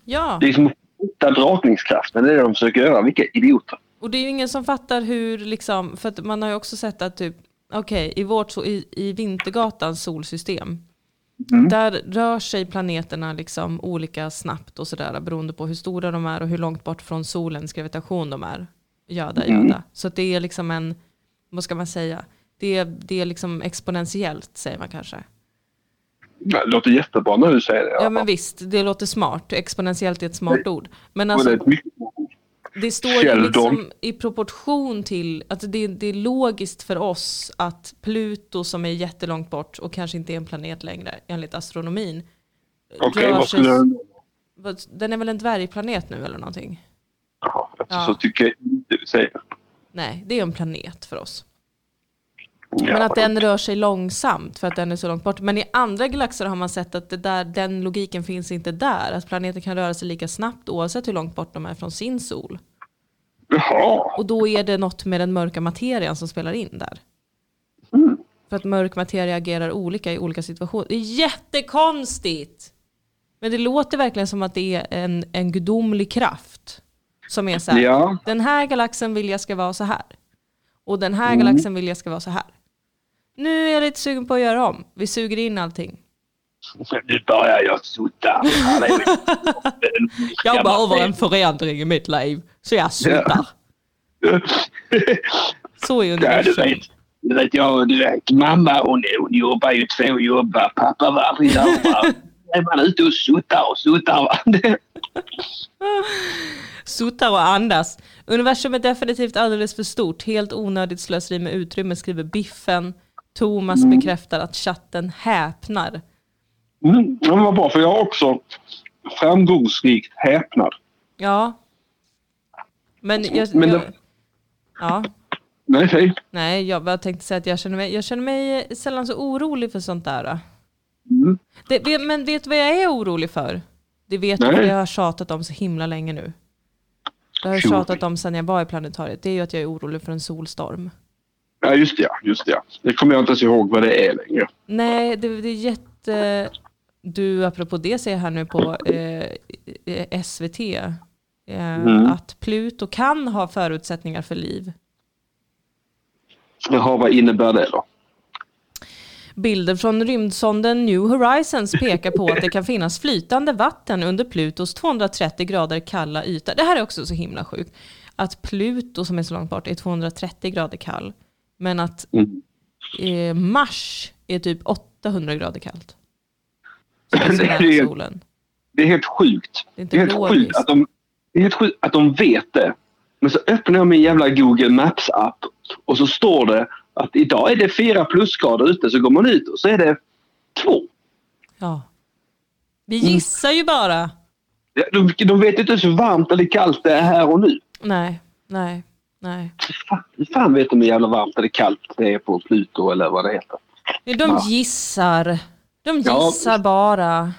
[SPEAKER 1] Ja,
[SPEAKER 2] Det är som att hitta dragningskraften. Det är det de försöker göra. Vilka idioter.
[SPEAKER 1] och det är ju ingen som fattar hur, liksom, för att man har ju också sett att typ, okej, i vårt, so- i, i Vintergatans solsystem,
[SPEAKER 2] Mm.
[SPEAKER 1] där rör sig planeterna liksom olika snabbt och sådär beroende på hur stora de är och hur långt bort från solens gravitation de är. Göda, göda.
[SPEAKER 2] Mm.
[SPEAKER 1] Så att det är liksom en, vad ska man säga, det är, det är liksom exponentiellt säger man kanske.
[SPEAKER 2] Det låter jättebra när du säger det.
[SPEAKER 1] Ja men visst, det låter smart. Exponentiellt är ett smart ord. Men alltså,
[SPEAKER 2] det är ett mycket...
[SPEAKER 1] det står ju
[SPEAKER 2] Källorn.
[SPEAKER 1] liksom i proportion till att det, det är logiskt för oss att Pluto som är jättelångt bort och kanske inte är en planet längre enligt astronomin.
[SPEAKER 2] Okej,
[SPEAKER 1] rör
[SPEAKER 2] vad
[SPEAKER 1] sig-
[SPEAKER 2] skulle den...
[SPEAKER 1] vad- Den är väl en dvärgplanet nu eller någonting?
[SPEAKER 2] Jaha,
[SPEAKER 1] Ja.
[SPEAKER 2] alltså, så tycker jag inte du säger.
[SPEAKER 1] Nej, det är en planet för oss.
[SPEAKER 2] Ja,
[SPEAKER 1] Men att den rör sig långsamt för att den är så långt bort. Men i andra galaxer har man sett att det där, den logiken finns inte där. Att planeter kan röra sig lika snabbt oavsett hur långt bort de är från sin sol.
[SPEAKER 2] Jaha.
[SPEAKER 1] Och då är det något med den mörka materian som spelar in där.
[SPEAKER 2] Mm.
[SPEAKER 1] För att mörk materia agerar olika i olika situationer. Det är jättekonstigt! Men det låter verkligen som att det är en, en gudomlig kraft. Som är så här,
[SPEAKER 2] Ja.
[SPEAKER 1] den här galaxen vill jag ska vara så här. Och den
[SPEAKER 2] Mm.
[SPEAKER 1] här galaxen vill jag ska vara så här. Nu är jag lite sugen på att göra om. Vi suger in allting.
[SPEAKER 2] Nu börjar jag sota. Ja, det är ju-
[SPEAKER 1] Jag behöver en förändring i mitt liv, så jag slutar. Så är
[SPEAKER 2] Ja, du
[SPEAKER 1] universum.
[SPEAKER 2] vet. Du vet, jag, du vet mamma hon, hon jobbar ju två jobb. va. Pappa var aldrig där. va. Är man ute och suttar och suttar. va. Det-
[SPEAKER 1] Suttar och andas. Universum är definitivt alldeles för stort. Helt onödigt slöseri med utrymme skriver Biffen. Thomas bekräftar att chatten häpnar.
[SPEAKER 2] Mm, men vad bra, för jag har också framgångsrikt häpnad.
[SPEAKER 1] Ja. Men jag...
[SPEAKER 2] Men
[SPEAKER 1] jag
[SPEAKER 2] det-
[SPEAKER 1] ja.
[SPEAKER 2] Nej, säg.
[SPEAKER 1] Nej, jag bara tänkte säga att jag känner mig, jag känner mig sällan så orolig för sånt där. då.
[SPEAKER 2] Mm.
[SPEAKER 1] Det, ve- men vet du vad jag är orolig för? Det vet du,
[SPEAKER 2] Nej.
[SPEAKER 1] för jag har tjatat om så himla länge nu. Det har jag
[SPEAKER 2] Tjo.
[SPEAKER 1] tjatat om sedan jag var i planetariet. Det är ju att jag är orolig för en solstorm.
[SPEAKER 2] Ja, just det. ja, Just det. ja. Det kommer jag inte ens ihåg vad det är längre.
[SPEAKER 1] Nej, det, det är jätte... Du, apropå det ser jag här nu på eh, eh, SVT eh,
[SPEAKER 2] Mm.
[SPEAKER 1] att Pluto kan ha förutsättningar för liv.
[SPEAKER 2] Jaha, vad innebär det då?
[SPEAKER 1] Bilder från rymdsonden New Horizons pekar på att det kan finnas flytande vatten under Plutos 230 grader kalla yta. Det här är också så himla sjukt. Att Pluto som är så långt bort är 230 grader kall. Men att
[SPEAKER 2] Mm.
[SPEAKER 1] eh, Mars är typ 800 grader kallt. Så
[SPEAKER 2] Det är
[SPEAKER 1] det är
[SPEAKER 2] ju-
[SPEAKER 1] solen.
[SPEAKER 2] Det är helt sjukt.
[SPEAKER 1] Det är inte
[SPEAKER 2] Det är helt
[SPEAKER 1] logiskt.
[SPEAKER 2] sjukt att de, det är helt sjukt att de vet det. Men så öppnar jag min jävla Google Maps-app och så står det att idag är det fyra plusgrader ute. Så går man ut och så är det två.
[SPEAKER 1] Ja. Vi gissar ju bara.
[SPEAKER 2] De, de vet inte ens hur varmt eller kallt det är här och nu.
[SPEAKER 1] Nej, nej, nej.
[SPEAKER 2] Fan, hur fan vet de hur jävla varmt eller kallt det är på Pluto eller vad det heter?
[SPEAKER 1] De
[SPEAKER 2] Ja.
[SPEAKER 1] gissar. De
[SPEAKER 2] Ja.
[SPEAKER 1] gissar bara.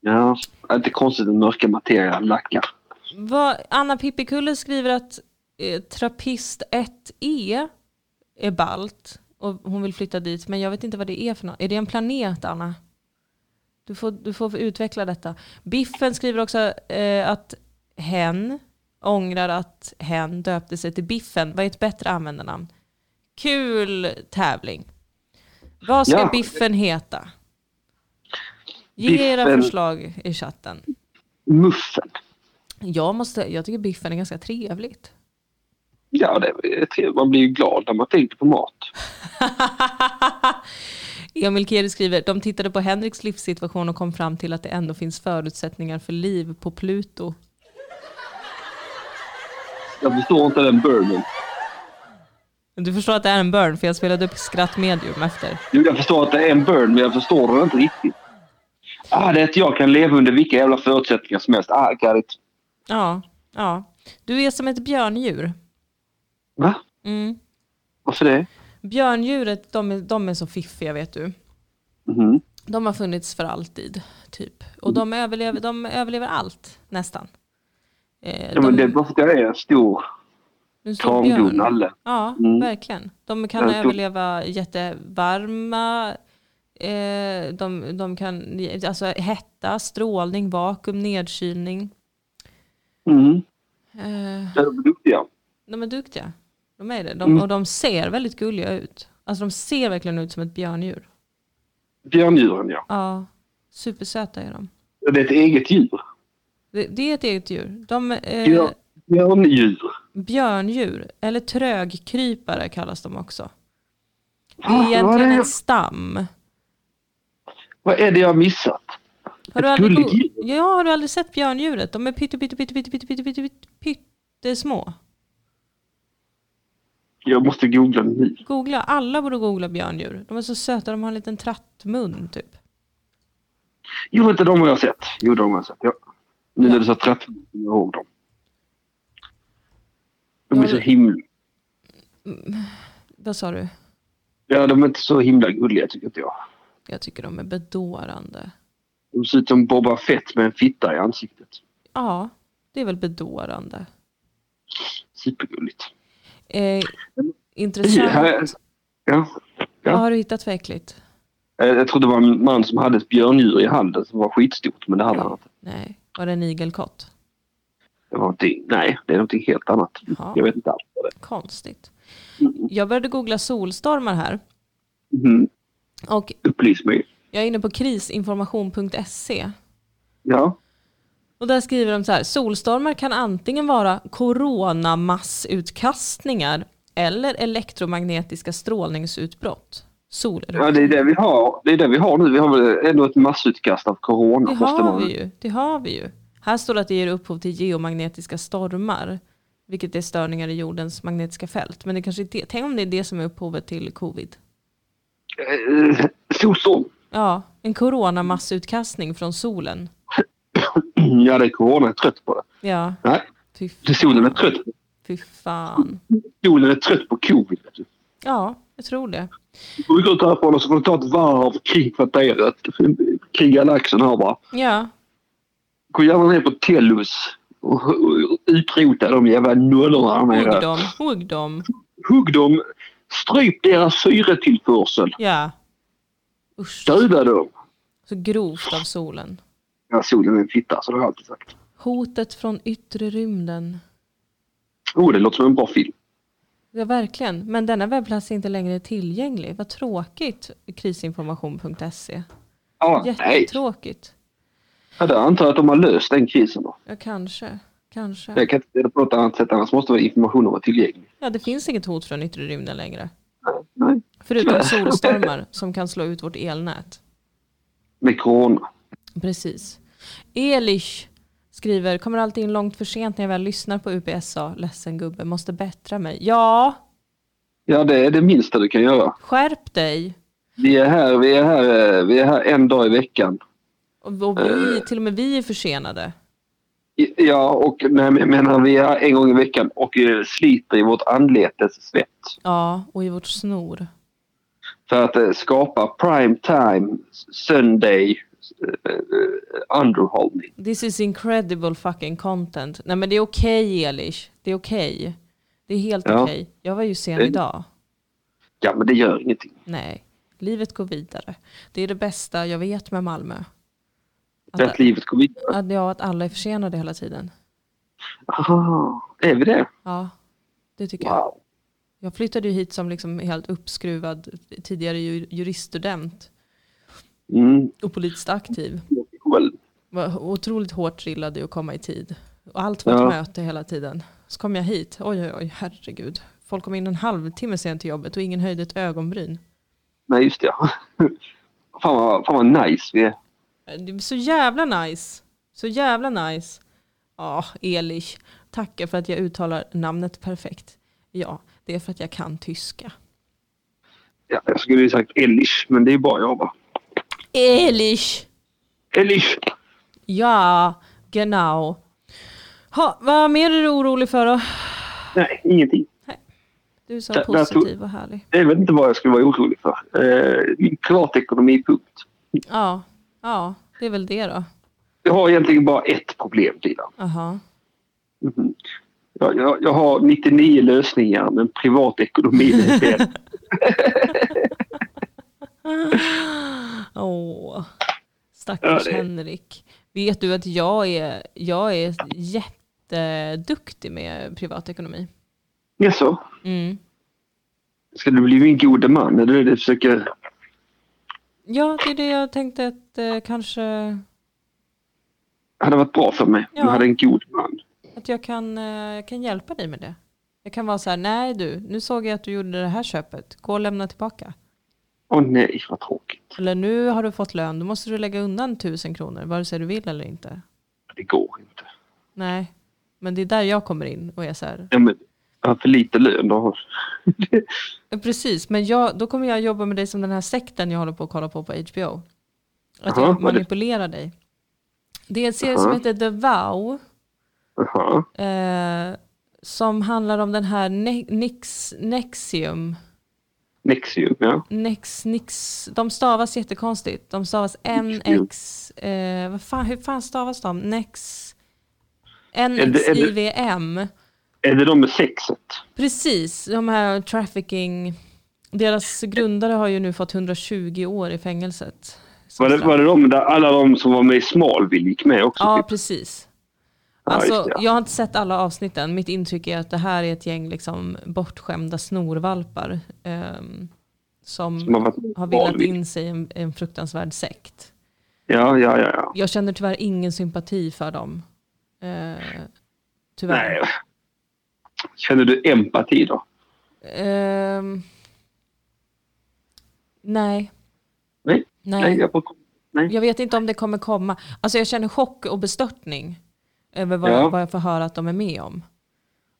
[SPEAKER 2] Ja, det är inte konstigt att mörka materia lackar.
[SPEAKER 1] Vad, Anna Pippikulle skriver att eh, Trappist 1E är balt och hon vill flytta dit, men jag vet inte vad det är för något. Är det en planet, Anna? Du får, du får utveckla detta. Biffen skriver också eh, att hen ångrar att hen döpte sig till Biffen. Vad är ett bättre användarnamn? Kul tävling. Vad ska
[SPEAKER 2] Ja.
[SPEAKER 1] Biffen heta? Ge era
[SPEAKER 2] Biffen.
[SPEAKER 1] förslag i chatten.
[SPEAKER 2] Muffen.
[SPEAKER 1] Jag, måste, jag tycker biffen är ganska trevligt.
[SPEAKER 2] Ja, det är trevligt. Man blir ju glad när man tänker på mat.
[SPEAKER 1] Emil Keri skriver, de tittade på Henriks livssituation och kom fram till att det ändå finns förutsättningar för liv på Pluto.
[SPEAKER 2] Jag förstår inte den burnen.
[SPEAKER 1] Du förstår att det är en burn, för jag spelade upp skrattmedium efter.
[SPEAKER 2] Jo, jag förstår att det är en burn, men jag förstår den inte riktigt. Ah, det är att jag kan leva under vilka jävla förutsättningar som helst. Ah, got it.
[SPEAKER 1] Ja, ja. Du är som ett björndjur.
[SPEAKER 2] Va?
[SPEAKER 1] Mm.
[SPEAKER 2] Varför det?
[SPEAKER 1] Björndjuret, de är, de är så fiffiga vet du.
[SPEAKER 2] Mhm.
[SPEAKER 1] De har funnits för alltid, typ. Och de överlever, de överlever allt, nästan. Eh,
[SPEAKER 2] Ja, men
[SPEAKER 1] de-
[SPEAKER 2] det är bara för att jag är en stor
[SPEAKER 1] en stor
[SPEAKER 2] kramblod
[SPEAKER 1] björn.
[SPEAKER 2] nalle.
[SPEAKER 1] Ja,
[SPEAKER 2] Mm.
[SPEAKER 1] verkligen. De kan
[SPEAKER 2] Jag tror-
[SPEAKER 1] överleva jättevarma, eh, de, de kan, alltså hetta, strålning, vakuum, nedkylning.
[SPEAKER 2] Mm.
[SPEAKER 1] Eh,
[SPEAKER 2] Det är de duktiga.
[SPEAKER 1] de är duktiga. De är det. De,
[SPEAKER 2] Mm.
[SPEAKER 1] Och de ser väldigt gulliga ut. Alltså de ser verkligen ut som ett björndjur.
[SPEAKER 2] Björndjuren, ja.
[SPEAKER 1] Ja, supersöta är de.
[SPEAKER 2] Det är ett eget
[SPEAKER 1] Eh.
[SPEAKER 2] djur.
[SPEAKER 1] Det, det är ett eget djur. De, eh,
[SPEAKER 2] Björ- Björndjur.
[SPEAKER 1] Björndjur, eller trögkrypare kallas de också. Det
[SPEAKER 2] Ah, vad
[SPEAKER 1] är
[SPEAKER 2] är
[SPEAKER 1] egentligen
[SPEAKER 2] det?
[SPEAKER 1] en stam.
[SPEAKER 2] Vad är det jag har missat?
[SPEAKER 1] Har du
[SPEAKER 2] Ett
[SPEAKER 1] aldrig,
[SPEAKER 2] gulligt
[SPEAKER 1] go-
[SPEAKER 2] djur.
[SPEAKER 1] ja, har du aldrig sett björndjuret? De är pytte, pytte, pytte, pytte, pytte, pytte, pytte, pytte, pyttesmå.
[SPEAKER 2] Jag måste googla nu.
[SPEAKER 1] Googla, alla borde googla björndjur. De är så söta, de har en liten trattmun typ.
[SPEAKER 2] Jo, inte de har jag sett. Jo, de har jag sett. Ja. Nu när du sa trappor kommer jag ihåg dem. De är
[SPEAKER 1] Ja,
[SPEAKER 2] så
[SPEAKER 1] det-
[SPEAKER 2] himla...
[SPEAKER 1] Vad sa du?
[SPEAKER 2] Ja, de är inte så himla gulliga tycker inte jag.
[SPEAKER 1] Jag tycker de är bedårande.
[SPEAKER 2] De ser ut som Boba Fett med en fitta i ansiktet.
[SPEAKER 1] Ja, det är väl bedårande.
[SPEAKER 2] Supergulligt.
[SPEAKER 1] Eh,
[SPEAKER 2] Mm. Ja,
[SPEAKER 1] intressant.
[SPEAKER 2] här- ja.
[SPEAKER 1] Vad har du hittat för äckligt?
[SPEAKER 2] Eh, Jag trodde det var en man som hade ett björndjur i handen som var skitstort, men det hade han inte.
[SPEAKER 1] Nej, var det en igelkott?
[SPEAKER 2] Det var någonting... Nej, det är någonting helt annat.
[SPEAKER 1] Jaha.
[SPEAKER 2] Jag vet inte alls vad det
[SPEAKER 1] Konstigt.
[SPEAKER 2] Mm.
[SPEAKER 1] Jag började googla solstormar här.
[SPEAKER 2] är. Mm.
[SPEAKER 1] Och
[SPEAKER 2] Upplys mig.
[SPEAKER 1] jag är inne på krisinformation.se.
[SPEAKER 2] Ja.
[SPEAKER 1] Och där skriver de så här, solstormar kan antingen vara coronamassutkastningar eller elektromagnetiska strålningsutbrott.
[SPEAKER 2] ja,
[SPEAKER 1] Soleruption.
[SPEAKER 2] det är det vi har. Det är det vi har nu. Vi har väl ändå ett massutkast av corona.
[SPEAKER 1] Det
[SPEAKER 2] måste
[SPEAKER 1] har
[SPEAKER 2] man-
[SPEAKER 1] vi ju. Det har vi ju. Här står det att det ger upphov till geomagnetiska stormar, vilket är störningar i jordens magnetiska fält. Men det kanske är det. Tänk om det är det som är upphovet till covid.
[SPEAKER 2] Eh, Solstorm.
[SPEAKER 1] Ja, en coronamassutkastning från solen.
[SPEAKER 2] Ja, det är corona. Jag är trött på det.
[SPEAKER 1] Ja,
[SPEAKER 2] Nej,
[SPEAKER 1] fy
[SPEAKER 2] det är solen är
[SPEAKER 1] fan.
[SPEAKER 2] trött.
[SPEAKER 1] Fy fan.
[SPEAKER 2] Solen är trött på covid. vet du.
[SPEAKER 1] Ja, jag tror det.
[SPEAKER 2] Vi får gå ut härifrån och så får du ta ett varv kring kvarteret. Kring galaxen här bara.
[SPEAKER 1] Ja,
[SPEAKER 2] Gå gärna ner på Tellus och och utrota de jävla nollorna där
[SPEAKER 1] hugg
[SPEAKER 2] nere.
[SPEAKER 1] dem, hugg dem.
[SPEAKER 2] Hugg dem. Stryp deras syretillförsel.
[SPEAKER 1] Ja. Usch,
[SPEAKER 2] Döda dem.
[SPEAKER 1] så grovt av solen.
[SPEAKER 2] Ja, solen är en fitta, så det har jag alltid sagt.
[SPEAKER 1] Hotet från yttre rymden.
[SPEAKER 2] Oh, det låter som en bra film.
[SPEAKER 1] Ja, verkligen. Men denna webbplats är inte längre tillgänglig. Vad tråkigt, krisinformation.se.
[SPEAKER 2] Ah, nej,
[SPEAKER 1] Jättetråkigt.
[SPEAKER 2] ja, det antar jag att de har löst den krisen då.
[SPEAKER 1] Ja, kanske. Kanske.
[SPEAKER 2] Jag kan inte se det på något annat sätt, annars måste informationen vara tillgänglig.
[SPEAKER 1] Ja, det finns inget hot från yttre rymden längre.
[SPEAKER 2] Nej,
[SPEAKER 1] Förutom solstormar som kan slå ut vårt elnät.
[SPEAKER 2] med corona.
[SPEAKER 1] Precis. Elish skriver, kommer alltid in långt för sent när jag väl lyssnar på UPSA. Ledsen gubbe, måste bättra mig. Ja,
[SPEAKER 2] Ja, det är det minsta du kan göra.
[SPEAKER 1] skärp dig.
[SPEAKER 2] Vi är här, vi är här, eh, vi är här en dag i veckan.
[SPEAKER 1] Och, och vi, till och med vi är försenade.
[SPEAKER 2] I- Ja, och nej, men jag menar vi är här en gång i veckan och eh, sliter i vårt anletes svett
[SPEAKER 1] Ja, och i vårt snor.
[SPEAKER 2] för att eh, skapa prime time, Sunday eh, eh, underhållning.
[SPEAKER 1] This is incredible fucking content. Nej men det är okej Elish. Det är okej. Det är helt
[SPEAKER 2] Ja.
[SPEAKER 1] okej. Jag var ju sen
[SPEAKER 2] Det-
[SPEAKER 1] idag.
[SPEAKER 2] Ja, men det gör ingenting.
[SPEAKER 1] Nej, livet går vidare. Det är det bästa jag vet med Malmö.
[SPEAKER 2] Det är att livet går vidare.
[SPEAKER 1] Att, ja, att alla är försenade hela tiden.
[SPEAKER 2] Aha, är vi det?
[SPEAKER 1] Ja, det tycker jag.
[SPEAKER 2] Wow.
[SPEAKER 1] Jag flyttade ju hit som liksom helt uppskruvad tidigare ju- juriststudent
[SPEAKER 2] Mm.
[SPEAKER 1] och politiskt aktiv.
[SPEAKER 2] Well,
[SPEAKER 1] Var otroligt hårt drillad i att komma i tid. Och allt var ett
[SPEAKER 2] Ja.
[SPEAKER 1] möte hela tiden. Så kom jag hit, oj oj oj, herregud. Folk kom in en halvtimme sent till jobbet och ingen höjde ett ögonbryn.
[SPEAKER 2] nej, just det. ja. fan, vad, fan vad nice vi är.
[SPEAKER 1] Eh, Det är så jävla nice. Så jävla nice. Ja, Elish. Tackar för att jag uttalar namnet perfekt. Ja, det är för att jag kan tyska.
[SPEAKER 2] Ja, jag skulle ju sagt Elish, men det är bara jag va?
[SPEAKER 1] Elish!
[SPEAKER 2] Elish!
[SPEAKER 1] Ja, genau. Ha, vad mer är du orolig för då?
[SPEAKER 2] Nej, ingenting.
[SPEAKER 1] Du sa
[SPEAKER 2] Där- där tog-
[SPEAKER 1] positiv och härlig.
[SPEAKER 2] Jag vet inte vad jag skulle vara orolig för. Eh, min privatekonomi, punkt.
[SPEAKER 1] Ja, ja, det är väl det då.
[SPEAKER 2] Jag har egentligen bara ett problem, Dilan.
[SPEAKER 1] Aha.
[SPEAKER 2] Mhm. Jag, jag, jag har 99 lösningar, men privatekonomi är fel.
[SPEAKER 1] Åh,
[SPEAKER 2] Ja,
[SPEAKER 1] stackars
[SPEAKER 2] det-
[SPEAKER 1] Henrik. Vet du att jag är, jag är jätteduktig med privatekonomi?
[SPEAKER 2] Jaså?
[SPEAKER 1] Mm.
[SPEAKER 2] Ska du bli en god man? Är det det du försöker...
[SPEAKER 1] Ja, det är det jag tänkte att eh, kanske
[SPEAKER 2] hade varit bra för mig?
[SPEAKER 1] Ja.
[SPEAKER 2] Du hade en god man.
[SPEAKER 1] att jag kan, eh, jag kan hjälpa dig med det. Jag kan vara så här, nej du, nu såg jag att du gjorde det här köpet, gå och lämna tillbaka.
[SPEAKER 2] Åh nej, vad tråkigt.
[SPEAKER 1] Eller nu har du fått lön, då måste du lägga undan tusen kronor, vare sig du vill eller inte.
[SPEAKER 2] Det går inte.
[SPEAKER 1] Nej, men det är där jag kommer in och är så här,
[SPEAKER 2] Ja, men, jag har för lite lön. Då.
[SPEAKER 1] Ja, Precis, men jag, då kommer jag jobba med dig som den här sekten jag håller på att kolla på på HBO. Att jag
[SPEAKER 2] Jaha, vad är det?
[SPEAKER 1] manipulerar dig. Det är en serie
[SPEAKER 2] Jaha.
[SPEAKER 1] som heter The Vow.
[SPEAKER 2] Jaha.
[SPEAKER 1] Eh, som handlar om den här ne- Nix, Nexium.
[SPEAKER 2] Nexium, ja.
[SPEAKER 1] Nex, Nix, de stavas jättekonstigt. De stavas NX, eh, vad fan, hur fan stavas de? Nex,
[SPEAKER 2] det- är det-
[SPEAKER 1] NXIVM.
[SPEAKER 2] Är det de med sexet?
[SPEAKER 1] Precis, de här trafficking, deras grundare har ju nu fått 120 år i fängelset. Som
[SPEAKER 2] Var det,
[SPEAKER 1] straff.
[SPEAKER 2] var det de där alla de som var med i Smalville gick med också?
[SPEAKER 1] Ja,
[SPEAKER 2] typ?
[SPEAKER 1] precis.
[SPEAKER 2] Ja,
[SPEAKER 1] Alltså,
[SPEAKER 2] just det, ja.
[SPEAKER 1] Jag har inte sett alla avsnitten. Mitt intryck är att det här är ett gäng liksom, bortskämda snorvalpar ehm, som,
[SPEAKER 2] Som har varit med i
[SPEAKER 1] har villat
[SPEAKER 2] Smalville.
[SPEAKER 1] in sig i en, en fruktansvärd sekt.
[SPEAKER 2] Ja, ja, ja. ja.
[SPEAKER 1] Jag känner tyvärr ingen sympati för dem. Eh, tyvärr.
[SPEAKER 2] Nej. Känner du empati då?
[SPEAKER 1] Ehm, nej.
[SPEAKER 2] Nej.
[SPEAKER 1] Nej.
[SPEAKER 2] jag bara... Nej.
[SPEAKER 1] Jag vet inte om det kommer komma. Alltså jag känner chock och bestörtning över vad,
[SPEAKER 2] Ja.
[SPEAKER 1] vad jag får höra att de är med om.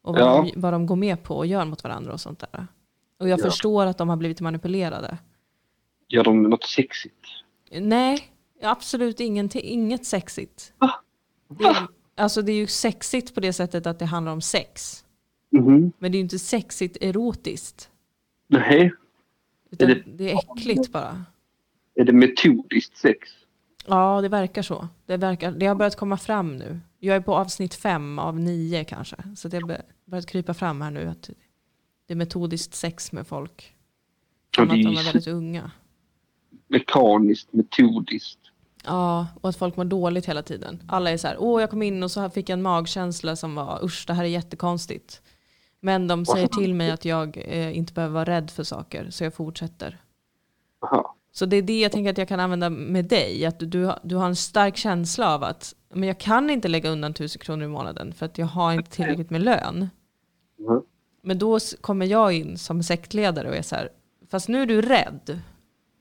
[SPEAKER 1] Och vad,
[SPEAKER 2] Ja.
[SPEAKER 1] de, vad de går med på och gör mot varandra och sånt där. Och jag
[SPEAKER 2] Ja.
[SPEAKER 1] förstår att de har blivit manipulerade.
[SPEAKER 2] Gör de något sexigt?
[SPEAKER 1] Nej, absolut ingenting, inget sexigt.
[SPEAKER 2] Va?
[SPEAKER 1] Det är, alltså det är ju sexigt på det sättet att det handlar om sex.
[SPEAKER 2] Mhm.
[SPEAKER 1] Men det är ju inte sexigt erotiskt.
[SPEAKER 2] Nej.
[SPEAKER 1] Utan
[SPEAKER 2] Är
[SPEAKER 1] det...
[SPEAKER 2] det-
[SPEAKER 1] är äckligt bara.
[SPEAKER 2] Är det metodiskt sex?
[SPEAKER 1] Ja, det verkar så. Det, verkar, det har börjat komma fram nu. Jag är på avsnitt fem av nio kanske. Så det har bör- börjat krypa fram här nu att det är metodiskt sex med folk.
[SPEAKER 2] Ja,
[SPEAKER 1] Som
[SPEAKER 2] det är
[SPEAKER 1] att
[SPEAKER 2] ju
[SPEAKER 1] de är väldigt unga.
[SPEAKER 2] mekaniskt, metodiskt.
[SPEAKER 1] Ja, och att folk mår dåligt hela tiden. Alla är så här, åh jag kom in och så här fick jag en magkänsla som var, usch det här är jättekonstigt. Men de säger till mig att jag eh, inte behöver vara rädd för saker, så jag fortsätter.
[SPEAKER 2] Aha.
[SPEAKER 1] Så det är det jag tänker att jag kan använda med dig. Att du, du, har- du har en stark känsla av att men jag kan inte lägga undan 1000 kronor i månaden för att jag har inte tillräckligt med lön.
[SPEAKER 2] Mhm.
[SPEAKER 1] Men då s- kommer jag in som sektledare och är så här, fast nu är du rädd.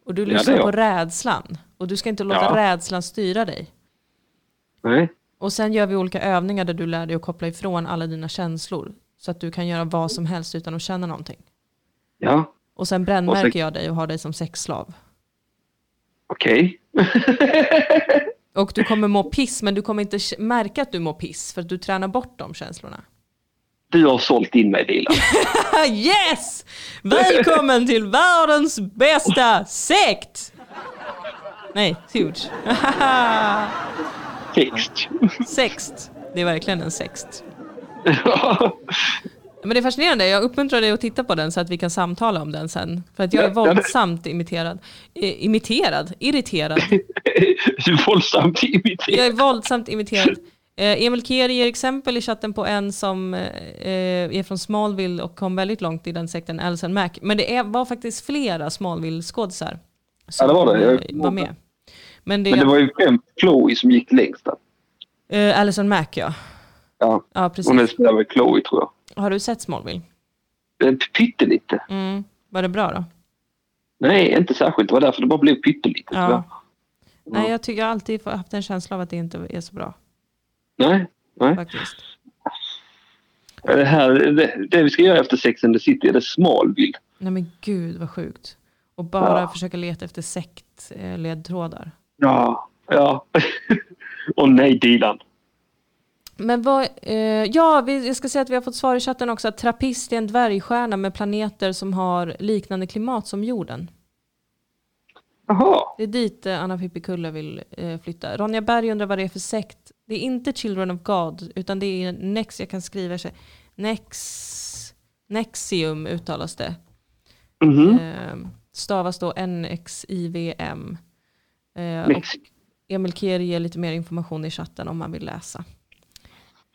[SPEAKER 1] Och du
[SPEAKER 2] det är
[SPEAKER 1] lyssnar på
[SPEAKER 2] jag.
[SPEAKER 1] rädslan. Och du ska inte låta
[SPEAKER 2] Ja.
[SPEAKER 1] rädslan styra dig.
[SPEAKER 2] Nej.
[SPEAKER 1] Och sen gör vi olika övningar där du lär dig att koppla ifrån alla dina känslor. Så att du kan göra vad som helst utan att känna någonting.
[SPEAKER 2] Ja,
[SPEAKER 1] Och sen brännmärker
[SPEAKER 2] Och sen-
[SPEAKER 1] jag dig och har dig som sexslav.
[SPEAKER 2] okej.
[SPEAKER 1] Och du kommer må piss men du kommer inte k- märka att du mår piss för att du tränar bort de känslorna.
[SPEAKER 2] Du har sålt in mig, Dilan.
[SPEAKER 1] Yes! Välkommen till världens bästa sekt! Nej, huge.
[SPEAKER 2] Text.
[SPEAKER 1] Sext. Det är verkligen en sext. Men det är fascinerande. Jag uppmuntrar dig att titta på den så att vi kan samtala om den sen. För att jag är
[SPEAKER 2] Ja, ja, det-
[SPEAKER 1] våldsamt imiterad. Eh, imiterad? Irriterad.
[SPEAKER 2] du är våldsamt
[SPEAKER 1] Jag
[SPEAKER 2] imiterad.
[SPEAKER 1] är våldsamt imiterad. Eh, Emil Kier ger exempel i chatten på en som eh, är från Smallville och kom väldigt långt i den sekten, Alison Mack. Men det är, var faktiskt flera Smallville-skådisar som
[SPEAKER 2] Ja, det var det. Jag
[SPEAKER 1] eh,
[SPEAKER 2] kommer
[SPEAKER 1] var
[SPEAKER 2] ihåg det.
[SPEAKER 1] med. Men det,
[SPEAKER 2] Men det var ju främst Chloe som gick längst där.
[SPEAKER 1] eh, Alison Mack ja.
[SPEAKER 2] Ja.
[SPEAKER 1] ja precis.
[SPEAKER 2] Hon är spelar väl Chloe, tror jag.
[SPEAKER 1] Har du sett Smallville?
[SPEAKER 2] Eh, Pyttelite.
[SPEAKER 1] Mm. Var det bra då?
[SPEAKER 2] Nej, inte särskilt. Det var därför det bara blev pyttelite.
[SPEAKER 1] Ja.
[SPEAKER 2] tyvärr.
[SPEAKER 1] Nej, jag tycker jag har alltid haft en känsla av att det inte är så bra
[SPEAKER 2] Nej, nej.
[SPEAKER 1] faktiskt.
[SPEAKER 2] Det, här, det, det vi ska göra efter Sex and the City är det Smallville.
[SPEAKER 1] Nej men gud vad sjukt. Och bara
[SPEAKER 2] Ja.
[SPEAKER 1] försöka leta efter sektledtrådar.
[SPEAKER 2] Ja. Ja. Och nej, Dilan.
[SPEAKER 1] Men vad, eh, ja, vi, jag ska säga att vi har fått svar i chatten också att trappist är en dvärgstjärna med planeter som har liknande klimat som jorden.
[SPEAKER 2] Jaha.
[SPEAKER 1] Det är dit eh, Anna Pippikulla vill eh, flytta. Ronja Berg undrar vad det är för sekt. Det är inte Children of God, utan det är Nex, jag kan skriva sig. Nex, Nexium uttalas det.
[SPEAKER 2] Mhm.
[SPEAKER 1] Eh, stavas då NXIVM. Eh, och
[SPEAKER 2] Mexiko.
[SPEAKER 1] Emil Kier ger lite mer information i chatten om man vill läsa.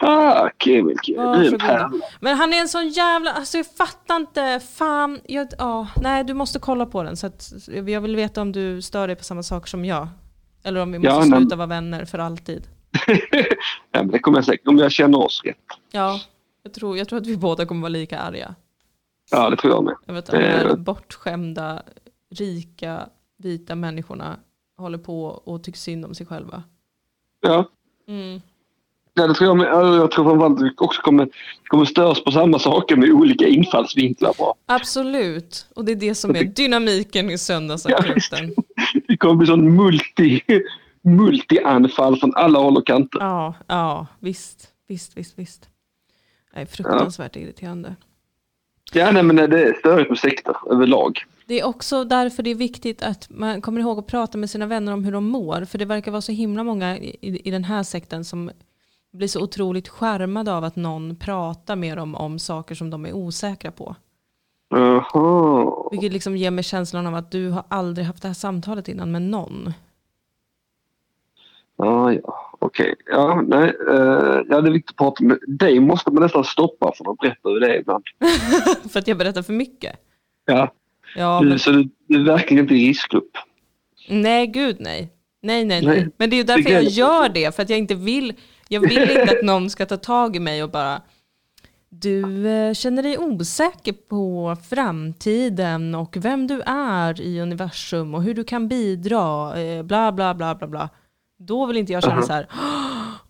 [SPEAKER 2] Ah, kul, kul. Du är en
[SPEAKER 1] Varsågoda.
[SPEAKER 2] pärla.
[SPEAKER 1] Men han är en sån jävla, alltså jag fattar inte, fan, jag, ja, nej du måste kolla på den så att jag vill veta om du stör dig på samma saker som jag. Eller om vi måste
[SPEAKER 2] Ja, men-
[SPEAKER 1] sluta vara vänner för alltid.
[SPEAKER 2] ja, men det kommer jag säkert, om jag känner oss rätt.
[SPEAKER 1] Ja, jag tror, jag tror att vi båda kommer vara lika arga.
[SPEAKER 2] Ja, det tror jag med.
[SPEAKER 1] Jag vet att de här
[SPEAKER 2] Eh.
[SPEAKER 1] bortskämda, rika, vita människorna håller på och tycker synd om sig själva.
[SPEAKER 2] Ja.
[SPEAKER 1] Mm.
[SPEAKER 2] Ja, det tror jag, med. Ja, jag tror framförallt att vi också kommer, kommer störas på samma saker med olika infallsvinklar. Bara.
[SPEAKER 1] Absolut, och det är det som är dynamiken i söndagsakuten.
[SPEAKER 2] Det kommer bli sån multi, multi-anfall från alla håll och kanter.
[SPEAKER 1] Ja, ja, visst, visst, visst, visst. Nej, fruktansvärt irriterande.
[SPEAKER 2] Ja, nej, men det är störigt med sekter överlag.
[SPEAKER 1] Det är också därför det är viktigt att man kommer ihåg att prata med sina vänner om hur de mår. För det verkar vara så himla många i, i den här sekten som blir så otroligt skärmade av att någon pratar med dem om saker som de är osäkra på.
[SPEAKER 2] Jaha.
[SPEAKER 1] Vilket liksom ger mig känslan av att du har aldrig haft det här samtalet innan med någon.
[SPEAKER 2] Ja, ja. Okej. Ja, nej. eh, ja, det är viktigt att prata med dig. måste man nästan stoppa för att berätta hur det är ibland.
[SPEAKER 1] för att jag berättar för mycket.
[SPEAKER 2] Ja.
[SPEAKER 1] Ja,
[SPEAKER 2] du-
[SPEAKER 1] men,
[SPEAKER 2] Så du, du är verkligen inte i riskgrupp.
[SPEAKER 1] nej, gud nej. Nej, nej, nej.
[SPEAKER 2] Nej,
[SPEAKER 1] Men det är ju därför
[SPEAKER 2] det
[SPEAKER 1] jag
[SPEAKER 2] gäller-
[SPEAKER 1] gör det. För att jag inte vill, jag vill inte att någon ska ta tag i mig och bara du eh, känner dig osäker på framtiden och vem du är i universum och hur du kan bidra, eh, bla bla bla bla bla. Då vill inte jag känna så här,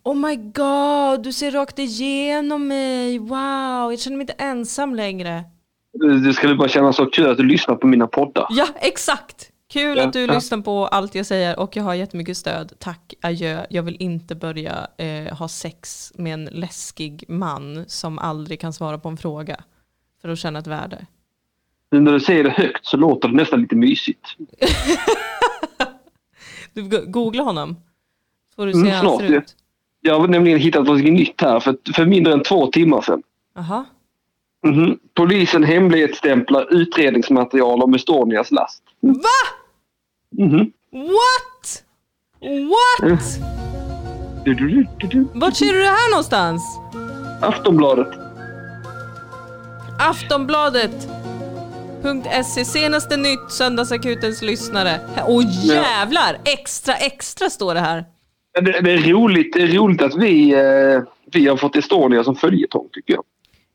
[SPEAKER 1] oh my god, du ser rakt igenom mig, wow, jag känner mig inte ensam längre.
[SPEAKER 2] Du du skulle bara känna så kul att du lyssnar på mina poddar.
[SPEAKER 1] Ja, exakt. Kul
[SPEAKER 2] Ja,
[SPEAKER 1] att du
[SPEAKER 2] ja.
[SPEAKER 1] lyssnar på allt jag säger och jag har jättemycket stöd. Tack, adjö. Jag vill inte börja eh, ha sex med en läskig man som aldrig kan svara på en fråga för att känna ett värde.
[SPEAKER 2] Nu när du säger det högt så låter det nästan lite mysigt.
[SPEAKER 1] Du, go- googla honom. Får du se
[SPEAKER 2] Mm,
[SPEAKER 1] hur han
[SPEAKER 2] snart,
[SPEAKER 1] ser
[SPEAKER 2] ja.
[SPEAKER 1] ut.
[SPEAKER 2] Jag har nämligen hittat något nytt här för, för mindre än två timmar sedan.
[SPEAKER 1] Jaha.
[SPEAKER 2] Mhm. Polisen hemlighetsstämplar utredningsmaterial om Estonias last.
[SPEAKER 1] Va?
[SPEAKER 2] Mhm.
[SPEAKER 1] What? What?
[SPEAKER 2] Mm. Du, du, du, du, du.
[SPEAKER 1] Vart ser du det här någonstans?
[SPEAKER 2] Aftonbladet.
[SPEAKER 1] Aftonbladet.se E. senaste nytt söndagsakutens lyssnare. Åh jävlar! Extra extra står det här.
[SPEAKER 2] Men Det, det, är roligt, det är roligt att vi, eh, vi har fått Estonia som följetong tycker jag.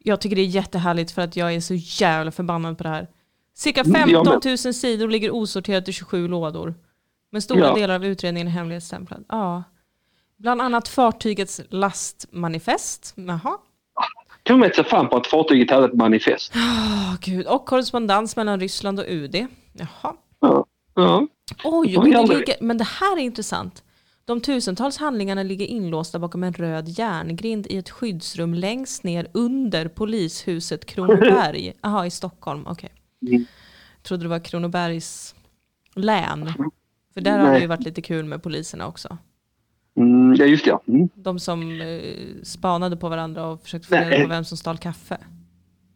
[SPEAKER 1] Jag tycker det är jättehärligt för att jag är så jävla förbannad på det här. Cirka
[SPEAKER 2] Mm, jag
[SPEAKER 1] 15
[SPEAKER 2] med.
[SPEAKER 1] 000 sidor ligger osorterat i 27 lådor. Men stora
[SPEAKER 2] Ja.
[SPEAKER 1] delar av utredningen är hemligstämplad. Ja. Bland annat fartygets lastmanifest. Jaha.
[SPEAKER 2] Kan man inte se fan på att fartyget hade ett manifest?
[SPEAKER 1] Åh, Gud. Och korrespondens mellan Ryssland och UD. Jaha.
[SPEAKER 2] Ja. ja.
[SPEAKER 1] Oj,
[SPEAKER 2] Oj,
[SPEAKER 1] och det
[SPEAKER 2] aldrig.
[SPEAKER 1] ligger, men det här är intressant. De tusentals handlingarna ligger inlåsta bakom en röd järngrind i ett skyddsrum längst ner under polishuset Kronoberg. Jaha, i Stockholm. Okej.
[SPEAKER 2] Mm.
[SPEAKER 1] Trodde det var Kronobergs län. För där har det
[SPEAKER 2] Nej.
[SPEAKER 1] ju varit lite kul med poliserna också.
[SPEAKER 2] Mm, ja, just det. ja. Mm.
[SPEAKER 1] De som eh, spanade på varandra och försökte få reda
[SPEAKER 2] Nej.
[SPEAKER 1] på vem som stal kaffe.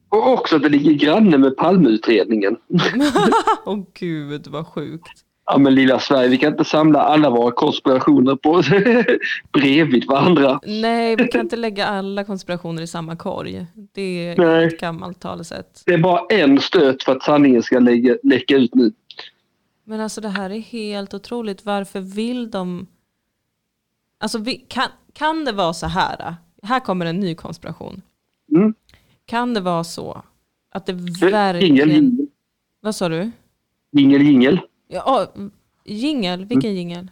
[SPEAKER 2] Och också att det ligger granne med Palmeutredningen.
[SPEAKER 1] Åh gud vad sjukt.
[SPEAKER 2] Ja men lilla Sverige, vi kan inte samla alla våra konspirationer på bredvid varandra.
[SPEAKER 1] Nej, vi kan inte lägga alla konspirationer i samma korg. Det är
[SPEAKER 2] Nej.
[SPEAKER 1] ett gammalt talesätt.
[SPEAKER 2] Det är bara en stöt för att sanningen ska lägga, läcka ut nu.
[SPEAKER 1] Men alltså det här är helt otroligt. Varför vill de... Alltså vi, kan, kan det vara så här? äh? Här kommer en ny konspiration.
[SPEAKER 2] Mm.
[SPEAKER 1] Kan det vara så att det
[SPEAKER 2] Jingel,
[SPEAKER 1] verkligen...
[SPEAKER 2] jingel,
[SPEAKER 1] Vad sa du?
[SPEAKER 2] jingel, jingel.
[SPEAKER 1] Ja, ah, jingel? Vilken jingel?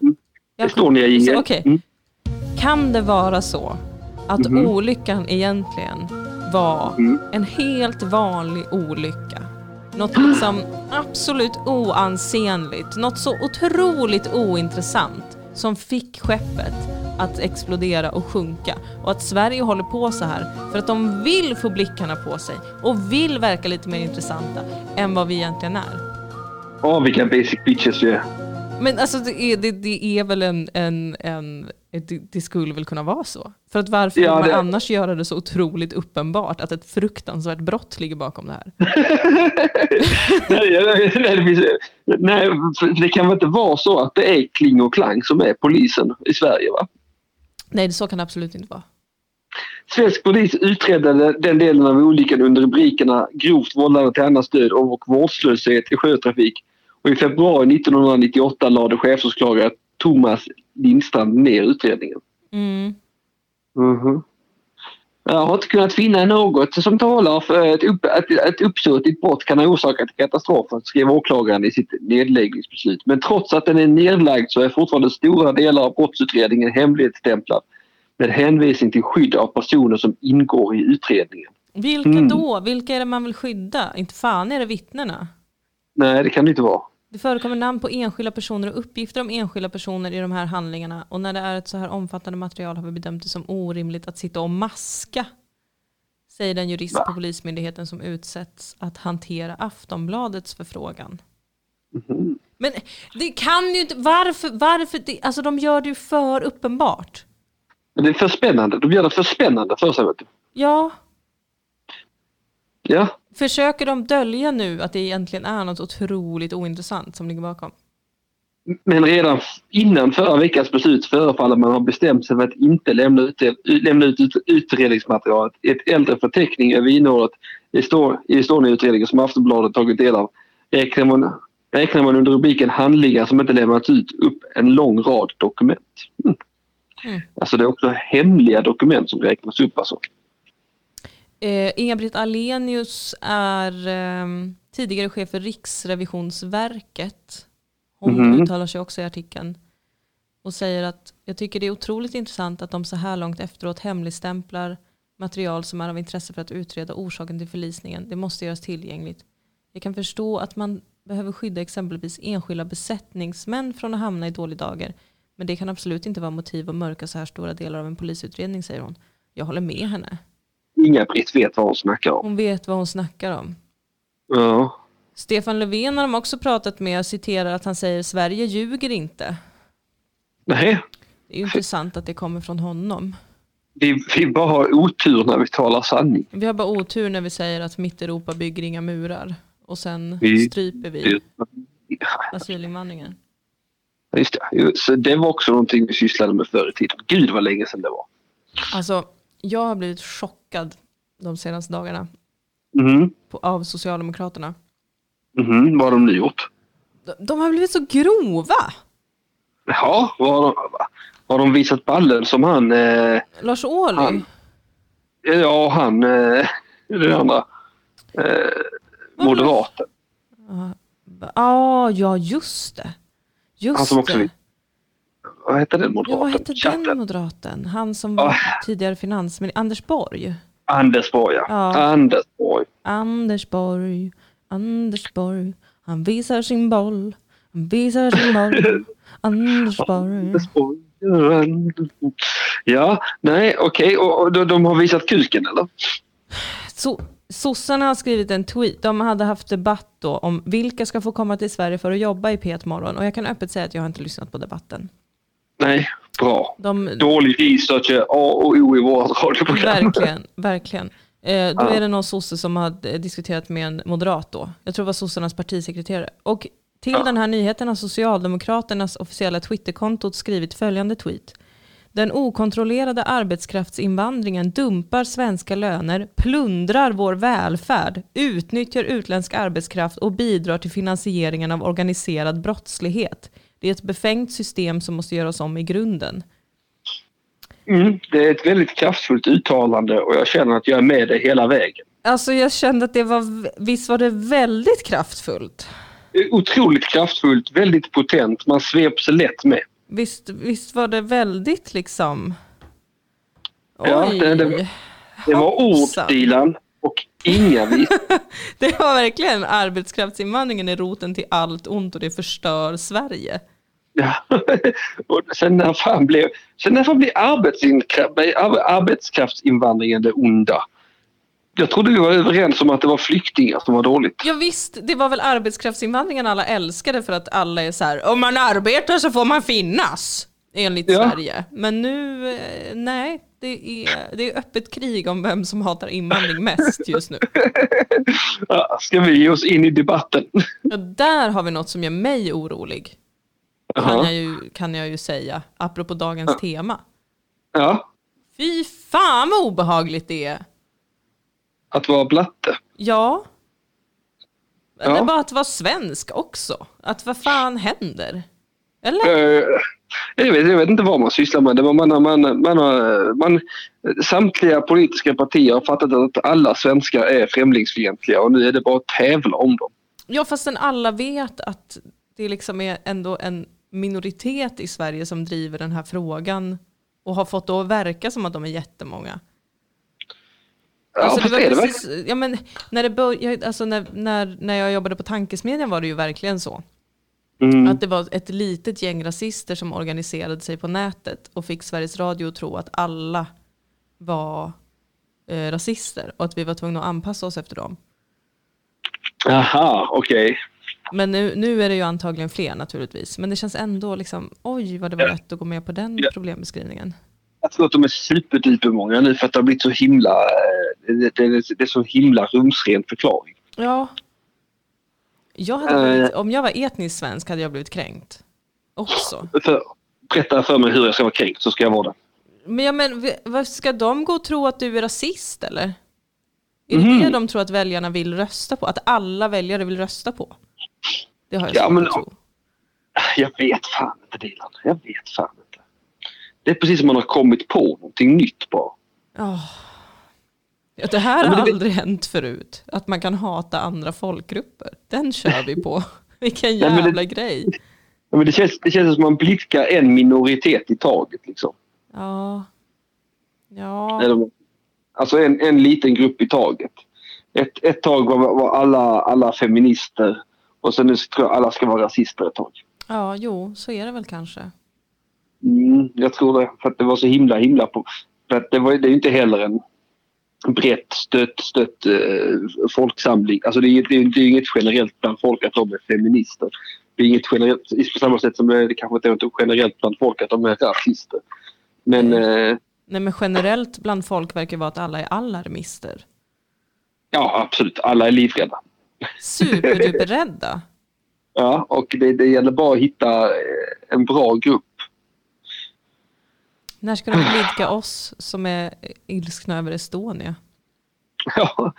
[SPEAKER 1] Jag-
[SPEAKER 2] Estonia-jingel.
[SPEAKER 1] Så, okej.
[SPEAKER 2] Mm. Mhm.
[SPEAKER 1] Kan det vara så att olyckan egentligen var
[SPEAKER 2] Mm.
[SPEAKER 1] en helt vanlig olycka? Något liksom absolut oansenligt, något så otroligt ointressant som fick skeppet att explodera och sjunka. Och att Sverige håller på så här för att de vill få blickarna på sig och vill verka lite mer intressanta än vad vi egentligen är.
[SPEAKER 2] Ja, vilka basic bitches vi är.
[SPEAKER 1] Men alltså det är, det, det är väl en, en, en ett- det, det skulle väl kunna vara så? För att varför
[SPEAKER 2] Ja,
[SPEAKER 1] vill man
[SPEAKER 2] det-
[SPEAKER 1] annars göra det så otroligt uppenbart att ett fruktansvärt brott ligger bakom det här?
[SPEAKER 2] nej, nej, nej, det finns, nej, för det kan väl inte vara så att det är Kling och Klang som är polisen i Sverige? va?
[SPEAKER 1] Nej, så kan det absolut inte vara.
[SPEAKER 2] Svensk polis utredde den delen av olyckan under rubrikerna grovt vållande till annans död och vårdslöshet i sjötrafik. Och i februari 1998 lade chefsåklagare Thomas Lindstrand ner utredningen.
[SPEAKER 1] Mm.
[SPEAKER 2] Mhm. Jag har inte kunnat finna något som talar för att, upp, att ett uppsåtligt brott kan ha orsakat katastrofen, skrev åklagaren i sitt nedläggningsbeslut. Men trots att den är nedlagd så är fortfarande stora delar av brottsutredningen hemlighetsstämplad med hänvisning till skydd av personer som ingår i utredningen.
[SPEAKER 1] Vilka
[SPEAKER 2] Mm.
[SPEAKER 1] då? Vilka är det man vill skydda? Inte fan är det vittnena.
[SPEAKER 2] Nej, det kan det inte vara.
[SPEAKER 1] Det förekommer namn på enskilda personer och uppgifter om enskilda personer i de här handlingarna och när det är ett så här omfattande material har vi bedömt det som orimligt att sitta och maska. Säger den jurist på Polismyndigheten som utsätts att hantera Aftonbladets förfrågan. Men det kan ju inte, varför, varför, det, alltså de gör det ju för uppenbart.
[SPEAKER 2] Men det är för spännande. De gör det för spännande för sig. Vet du.
[SPEAKER 1] Ja,
[SPEAKER 2] Ja.
[SPEAKER 1] försöker de dölja nu att det egentligen är något otroligt ointressant som ligger bakom?
[SPEAKER 2] Men redan innan förra veckans beslut förefaller man ha bestämt sig för att inte lämna ut, lämna ut ut- utredningsmaterialet. Ett äldre förteckning över innehållet i Esto- i Estonia-utredningen som Aftonbladet tagit del av räknar man, räknar man under rubriken handlingar som inte lämnats ut upp en lång rad dokument. Mm.
[SPEAKER 1] Mm.
[SPEAKER 2] Alltså det är också hemliga dokument som räknas upp alltså.
[SPEAKER 1] Eh, Inga-Britt Alenius är ehm, tidigare chef för Riksrevisionsverket. Hon
[SPEAKER 2] Mhm.
[SPEAKER 1] uttalar sig också i artikeln och säger att jag tycker det är otroligt intressant att de så här långt efteråt hemligstämplar material som är av intresse för att utreda orsaken till förlisningen. Det måste göras tillgängligt. Jag kan förstå att man behöver skydda exempelvis enskilda besättningsmän från att hamna i dålig dager. Men det kan absolut inte vara motiv att mörka så här stora delar av en polisutredning, säger hon. Jag håller med henne.
[SPEAKER 2] Inga-Britt vet vad hon snackar om.
[SPEAKER 1] Hon vet vad hon snackar om.
[SPEAKER 2] Ja.
[SPEAKER 1] Stefan Löfven har de också pratat med. Jag citerar att han säger Sverige ljuger inte.
[SPEAKER 2] Nej,
[SPEAKER 1] Det är ju intressant att det kommer från honom.
[SPEAKER 2] vi, vi bara har otur när vi talar sanning.
[SPEAKER 1] Vi har bara otur när vi säger att mitt Europa bygger inga murar och sen
[SPEAKER 2] Vi-
[SPEAKER 1] stryper vi asylinvandringen.
[SPEAKER 2] Just det. Så det var också någonting vi sysslade med förr i tiden. Gud vad länge sedan det var.
[SPEAKER 1] Alltså, jag har blivit chockad de senaste dagarna
[SPEAKER 2] Mhm.
[SPEAKER 1] på, av Socialdemokraterna.
[SPEAKER 2] Mhm. Vad har de nu gjort?
[SPEAKER 1] De, de har blivit så grova.
[SPEAKER 2] Ja, vad har de, vad har de visat ballen som han... Eh,
[SPEAKER 1] Lars Ohly.
[SPEAKER 2] Han- ja, han... Eh, den andra. Eh, moderaten.
[SPEAKER 1] Ja, ja, just det. Just
[SPEAKER 2] Han som också
[SPEAKER 1] det.
[SPEAKER 2] vill- vad heter den
[SPEAKER 1] Ja,
[SPEAKER 2] moderaten?
[SPEAKER 1] vad hette den
[SPEAKER 2] Chatten.
[SPEAKER 1] moderaten? Han som var tidigare finansminister, Anders Borg.
[SPEAKER 2] Anders Borg, ja.
[SPEAKER 1] Ja.
[SPEAKER 2] Anders Borg.
[SPEAKER 1] Anders Borg, Anders Borg, han visar sin boll, han visar sin boll. Anders Borg.
[SPEAKER 2] Anders Borg. Ja, nej, okej. Och, och de, de har visat kuken, eller?
[SPEAKER 1] So Sossarna har skrivit en tweet. De hade haft debatt då om vilka ska få komma till Sverige för att jobba i P1 Morgon. Och jag kan öppet säga att jag har inte lyssnat på debatten.
[SPEAKER 2] Nej, bra.
[SPEAKER 1] De,
[SPEAKER 2] Dålig research är A och O i vårt radioprogram.
[SPEAKER 1] verkligen, verkligen. Eh, då
[SPEAKER 2] Ja.
[SPEAKER 1] är det någon sosse som har eh, diskuterat med en moderat då. Jag tror det var sossarnas partisekreterare. Och till
[SPEAKER 2] Ja.
[SPEAKER 1] den här nyheten har Socialdemokraternas officiella Twitterkontot skrivit följande tweet. Den okontrollerade arbetskraftsinvandringen dumpar svenska löner, plundrar vår välfärd, utnyttjar utländsk arbetskraft och bidrar till finansieringen av organiserad brottslighet. Det är ett befängt system som måste göras om i grunden.
[SPEAKER 2] Mm, det är ett väldigt kraftfullt uttalande och jag känner att jag är med det hela vägen.
[SPEAKER 1] Alltså jag kände att det var, visst var det väldigt kraftfullt?
[SPEAKER 2] Otroligt kraftfullt, väldigt potent. Man sveps lätt med.
[SPEAKER 1] Visst, visst var det väldigt liksom... Oj,
[SPEAKER 2] Ja,
[SPEAKER 1] det,
[SPEAKER 2] det- det- Det var ord,
[SPEAKER 1] Hoppsan.
[SPEAKER 2] Dilan, och inga vits.
[SPEAKER 1] var verkligen arbetskraftsinvandringen är roten till allt ont och det förstör Sverige.
[SPEAKER 2] Ja. Och sen när fan blev, sen när fan blev arbetsinkrä- blev ar- arbetskraftsinvandringen det onda? Jag trodde vi var överens om att det var flyktingar som var dåligt.
[SPEAKER 1] Ja, visst, det var väl arbetskraftsinvandringen alla älskade för att alla är så här, om man arbetar så får man finnas, enligt
[SPEAKER 2] Ja.
[SPEAKER 1] Sverige. Men nu, eh, nej, det är, det är öppet krig om vem som hatar invandring mest just nu.
[SPEAKER 2] Ja, ska vi ge oss in i debatten?
[SPEAKER 1] Ja, där har vi något som gör mig orolig, kan
[SPEAKER 2] Jaha.
[SPEAKER 1] jag, ju, kan jag ju säga, apropå dagens tema.
[SPEAKER 2] Ja,
[SPEAKER 1] Fy fan vad obehagligt det är!
[SPEAKER 2] att vara blatte.
[SPEAKER 1] Ja.
[SPEAKER 2] Ja.
[SPEAKER 1] Det är bara att vara svensk också. Att vad fan händer? Eller?
[SPEAKER 2] Eh, Jag vet, jag vet inte vad man sysslar med. Det var man, man, man, har- man, samtliga politiska partier har fattat att alla svenskar är främlingsfientliga och nu är det bara att tävla om dem.
[SPEAKER 1] Ja, fastän alla vet att det liksom är ändå en minoritet i Sverige som driver den här frågan och har fått det att verka som att de är jättemånga.
[SPEAKER 2] Ja,
[SPEAKER 1] Alltså,
[SPEAKER 2] fast
[SPEAKER 1] det var
[SPEAKER 2] är det
[SPEAKER 1] precis, ja, men när, det började, alltså när, när, när jag jobbade på Tankesmedjan var det ju verkligen så.
[SPEAKER 2] verkligen? Mm.
[SPEAKER 1] Att det var ett litet gäng rasister som organiserade sig på nätet och fick Sveriges Radio att tro att alla var eh, rasister och att vi var tvungna att anpassa oss efter dem.
[SPEAKER 2] Aha, okej.
[SPEAKER 1] Men nu, nu är det ju antagligen fler naturligtvis. Men det känns ändå liksom, oj vad det var
[SPEAKER 2] Ja.
[SPEAKER 1] lätt att gå med på den
[SPEAKER 2] Ja.
[SPEAKER 1] problembeskrivningen.
[SPEAKER 2] Jag tror att de är superdupermånga nu för att det har blivit så himla... eh, Det, det, det är så himla rumsren förklaring.
[SPEAKER 1] Ja. Jag hade
[SPEAKER 2] Eh.
[SPEAKER 1] blivit, om jag var etnisk svensk hade jag blivit kränkt också.
[SPEAKER 2] För, berätta för mig hur jag ska vara kränkt så ska jag vara det.
[SPEAKER 1] Men, ja, men v- vad ska de gå och tro att du är rasist eller? Är det
[SPEAKER 2] Mhm.
[SPEAKER 1] det de tror att väljarna vill rösta på? Att alla väljare vill rösta på? Det har jag
[SPEAKER 2] Ja,
[SPEAKER 1] svårt
[SPEAKER 2] men-
[SPEAKER 1] att tro.
[SPEAKER 2] Jag vet fan inte Dilan. Jag vet fan inte. Det är precis som man har kommit på någonting nytt bara.
[SPEAKER 1] Åh. Ja, det här
[SPEAKER 2] Ja, men
[SPEAKER 1] har
[SPEAKER 2] det-
[SPEAKER 1] aldrig hänt förut. Att man kan hata andra folkgrupper. Den kör vi på. Vilken
[SPEAKER 2] Ja, men det-
[SPEAKER 1] jävla grej.
[SPEAKER 2] Ja, men det, känns, det känns som man blickar en minoritet i taget. Liksom.
[SPEAKER 1] Ja. Ja.
[SPEAKER 2] Eller, alltså en, en liten grupp i taget. Ett, ett tag var, var alla, alla feminister och sen nu tror jag alla ska vara rasister ett tag.
[SPEAKER 1] ja, jo, så är det väl kanske.
[SPEAKER 2] Mm, jag tror det. För att det var så himla himla... På, för att det, var, det är ju inte heller en brett stött, stött eh, folksamling. Alltså det är ju det är, ju- det är ju inget generellt bland folk att de är feminister. Det är inget generellt, på samma sätt som eh, det kanske inte är generellt bland folk att de är rasister. Men eh,
[SPEAKER 1] Nej, men generellt bland folk verkar vara att alla är alarmister.
[SPEAKER 2] ja, absolut. Alla är livrädda.
[SPEAKER 1] Superduperrädda.
[SPEAKER 2] Ja, och det, det gäller bara att hitta eh, en bra grupp.
[SPEAKER 1] När ska de blidka oss som är ilskna över Estonia?
[SPEAKER 2] Ja,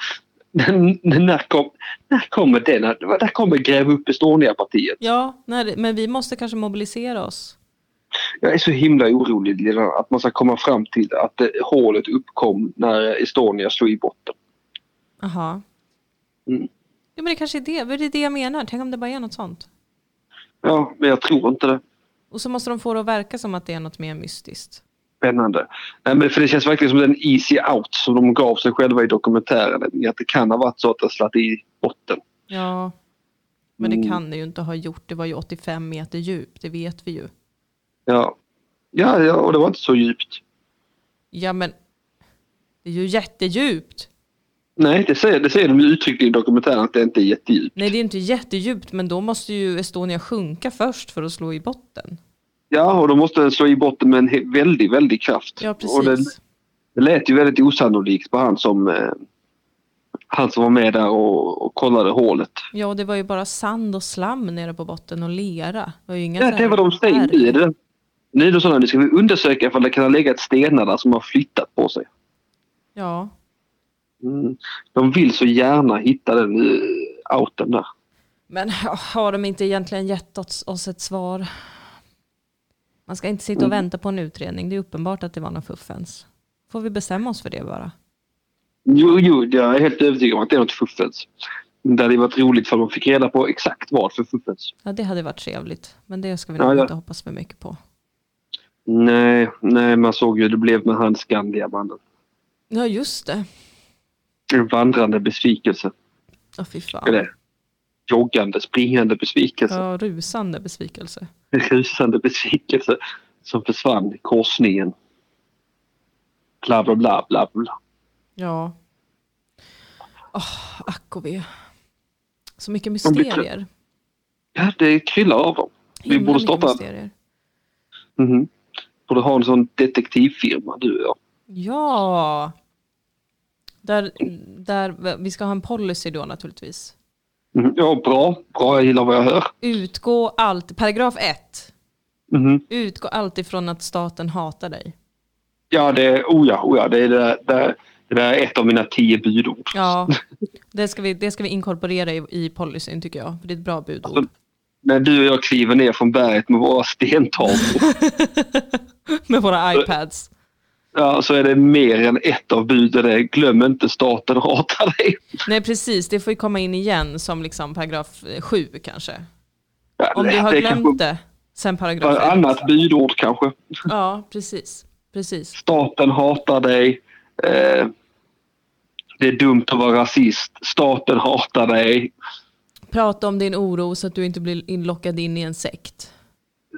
[SPEAKER 2] men när, kom, när kommer det? När, när kommer Gräv upp Estonia-partiet?
[SPEAKER 1] Ja, när, men vi måste kanske mobilisera oss.
[SPEAKER 2] Jag är så himla orolig Lena, att man ska komma fram till att eh, hålet uppkom när Estonia slog i botten.
[SPEAKER 1] Aha.
[SPEAKER 2] Mm.
[SPEAKER 1] Ja, men det kanske är det. Det är det jag menar. Tänk om det bara är något sånt.
[SPEAKER 2] Ja, men jag tror inte det.
[SPEAKER 1] Och så måste de få det att verka som att det är något mer mystiskt.
[SPEAKER 2] Spännande. Nej, men för det känns verkligen som den easy out som de gav sig själva i dokumentären. Att det kan ha varit så att det slatt i botten.
[SPEAKER 1] Ja, men
[SPEAKER 2] Mm.
[SPEAKER 1] det kan det ju inte ha gjort. Det var ju 85 meter djupt, det vet vi ju.
[SPEAKER 2] Ja, ja, ja och det var inte så djupt.
[SPEAKER 1] Ja, men det är ju jättedjupt.
[SPEAKER 2] Nej, det säger, det säger de ju uttryckligen i dokumentären att det inte är jättedjupt.
[SPEAKER 1] Nej, det är inte jättedjupt, men då måste ju Estonia sjunka först för att slå i botten.
[SPEAKER 2] Ja, och de måste slå i botten med en he- väldigt, väldigt kraft.
[SPEAKER 1] Ja,
[SPEAKER 2] Och det,
[SPEAKER 1] precis.
[SPEAKER 2] det lät ju väldigt osannolikt på han som, eh, han som var med där och, och kollade hålet.
[SPEAKER 1] Ja, och det var ju bara sand och slam nere på botten och lera. Det var ju inga
[SPEAKER 2] Ja,
[SPEAKER 1] så
[SPEAKER 2] det
[SPEAKER 1] här
[SPEAKER 2] var de säger
[SPEAKER 1] berg.
[SPEAKER 2] nu. Är det- Nu är det sådana, nu ska vi undersöka ifall det kan ha legat stenar där som har flyttat på sig.
[SPEAKER 1] Ja,
[SPEAKER 2] Mm. De vill så gärna hitta den eh, outen där.
[SPEAKER 1] men har de inte egentligen gett oss, oss ett svar? Man ska inte sitta och
[SPEAKER 2] Mm.
[SPEAKER 1] vänta på en utredning. Det är uppenbart att det var någon fuffens. Får vi bestämma oss för det bara?
[SPEAKER 2] Jo, jo, jag är helt övertygad om att det är något fuffens. Men Det hade ju varit roligt om de fick reda på exakt vad för fuffens.
[SPEAKER 1] Ja, det hade varit trevligt. Men det ska vi
[SPEAKER 2] Ja,
[SPEAKER 1] nog
[SPEAKER 2] ja.
[SPEAKER 1] inte hoppas för mycket på.
[SPEAKER 2] Nej, nej, man såg ju hur det blev med han Skandiamannen.
[SPEAKER 1] Ja, just det.
[SPEAKER 2] En vandrande besvikelse.
[SPEAKER 1] Ja, fy fan.
[SPEAKER 2] Eller joggande, springande besvikelse.
[SPEAKER 1] Ja, rusande besvikelse.
[SPEAKER 2] rusande besvikelse som försvann i korsningen. Bla, bla, bla, bla, bla.
[SPEAKER 1] Ja. Åh, ack och ve. Så mycket
[SPEAKER 2] De blir trö-
[SPEAKER 1] mysterier.
[SPEAKER 2] Ja, det kryllar av dem. Vi
[SPEAKER 1] Himla
[SPEAKER 2] borde
[SPEAKER 1] mycket
[SPEAKER 2] starta...
[SPEAKER 1] mysterier.
[SPEAKER 2] Mhm. Borde ha en sån detektivfirma, du och jag.
[SPEAKER 1] Ja. Där, där vi ska ha en policy då naturligtvis.
[SPEAKER 2] Mhm. Ja, bra. Bra, jag gillar vad jag hör.
[SPEAKER 1] Utgå alltid, paragraf 1.
[SPEAKER 2] Mhm.
[SPEAKER 1] Utgå alltid från att staten hatar dig.
[SPEAKER 2] Ja, det... Oh ja, oh ja. Det, är det, där- det, där- det där är ett av mina tio budord.
[SPEAKER 1] Ja, det ska vi, det ska vi inkorporera i, i policyn tycker jag. För det är ett bra budord.
[SPEAKER 2] Alltså- När du och jag kliver ner från berget med våra stentavlor
[SPEAKER 1] Med våra iPads.
[SPEAKER 2] ja, så är det mer än ett av buden. Det är, Glöm inte staten hatar dig.
[SPEAKER 1] Nej precis, det får ju komma in igen som liksom paragraf 7 kanske.
[SPEAKER 2] Ja,
[SPEAKER 1] Om du har
[SPEAKER 2] det är
[SPEAKER 1] glömt
[SPEAKER 2] kanske-
[SPEAKER 1] det sen paragraf
[SPEAKER 2] Ett
[SPEAKER 1] ett.
[SPEAKER 2] annat budord kanske.
[SPEAKER 1] Ja, precis. precis.
[SPEAKER 2] Staten hatar dig. Eh, det är dumt att vara rasist. Staten hatar dig.
[SPEAKER 1] Prata om din oro så att du inte blir inlockad in i en sekt.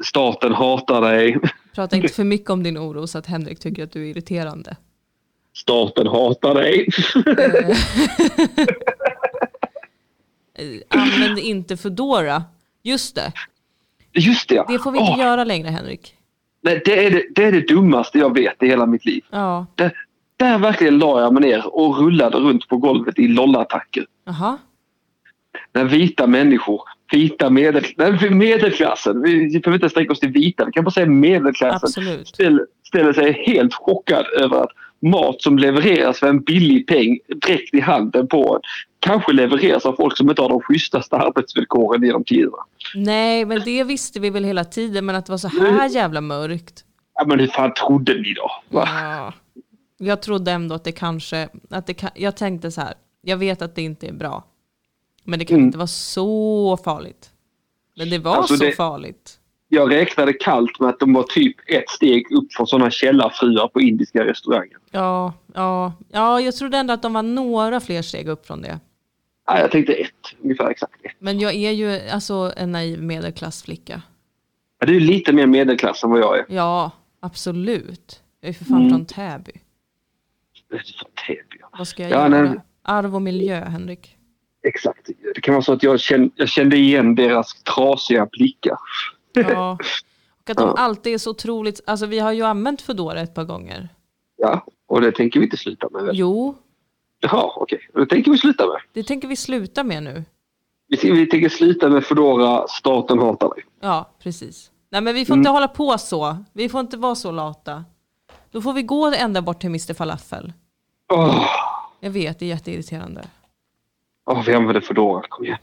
[SPEAKER 2] Staten hatar dig.
[SPEAKER 1] Prata inte för mycket om din oro så att Henrik tycker att du är irriterande.
[SPEAKER 2] Staten hatar dig.
[SPEAKER 1] Eh, Använd inte Foodora. Just det,
[SPEAKER 2] Just det, ja.
[SPEAKER 1] det får vi inte
[SPEAKER 2] Åh,
[SPEAKER 1] göra längre Henrik.
[SPEAKER 2] nej, det, är det, det är det dummaste jag vet i hela mitt liv.
[SPEAKER 1] Ja,
[SPEAKER 2] Det, Eh, där verkligen la jag mig ner och rullade runt på golvet i lollattacker.
[SPEAKER 1] jaha.
[SPEAKER 2] När vita människor, vita medel, nej, medelklassen, vi behöver inte sträcka oss till vita, vi kan bara säga medelklassen.
[SPEAKER 1] Absolut.
[SPEAKER 2] ställ, ställer sig helt chockad över att mat som levereras för en billig peng direkt i handen på en kanske levereras av folk som inte har de schysstaste arbetsvillkoren genom tiderna.
[SPEAKER 1] Nej, men det visste vi väl hela tiden, men att det var så här jävla mörkt.
[SPEAKER 2] Ja, men hur fan trodde ni då? Va?
[SPEAKER 1] Ja. Jag trodde ändå att det kanske, att det kan, jag tänkte så här, jag vet att det inte är bra, men det kan
[SPEAKER 2] Mm.
[SPEAKER 1] inte vara så farligt. Men det var
[SPEAKER 2] Alltså,
[SPEAKER 1] så
[SPEAKER 2] det-
[SPEAKER 1] farligt.
[SPEAKER 2] Jag räknade kallt med att de var typ ett steg upp från sådana källarfruar på indiska restauranger.
[SPEAKER 1] Ja, ja, ja, jag trodde ändå att de var några fler steg upp från det.
[SPEAKER 2] Ja, jag tänkte ett, ungefär exakt ett.
[SPEAKER 1] Men jag är ju alltså en naiv medelklassflicka.
[SPEAKER 2] Ja, du är lite mer medelklass än vad jag är.
[SPEAKER 1] Ja, absolut. Jag är för fan
[SPEAKER 2] Mm.
[SPEAKER 1] från Täby.
[SPEAKER 2] Det är så Täby, ja.
[SPEAKER 1] Vad ska jag
[SPEAKER 2] Ja,
[SPEAKER 1] göra?
[SPEAKER 2] nej.
[SPEAKER 1] Arv och miljö, Henrik.
[SPEAKER 2] Exakt. Det kan vara så att jag kände, jag kände igen deras trasiga blickar.
[SPEAKER 1] Ja. Och att de
[SPEAKER 2] Ja.
[SPEAKER 1] alltid är så otroligt, alltså vi har ju använt Foodora ett par gånger.
[SPEAKER 2] Ja, och det tänker vi inte sluta med. Väl?
[SPEAKER 1] Jo,
[SPEAKER 2] Jaha, okej. Det tänker vi sluta med.
[SPEAKER 1] det tänker vi sluta med nu.
[SPEAKER 2] Vi, vi tänker sluta med Foodora, staten hatar dig.
[SPEAKER 1] Ja, precis. Nej men vi
[SPEAKER 2] Mm.
[SPEAKER 1] får inte hålla på så. Vi får inte vara så lata. Då får vi gå ända bort till Mr Falafel.
[SPEAKER 2] Åh,
[SPEAKER 1] Jag vet, det är jätteirriterande.
[SPEAKER 2] åh, vi använder Foodora, kom igen.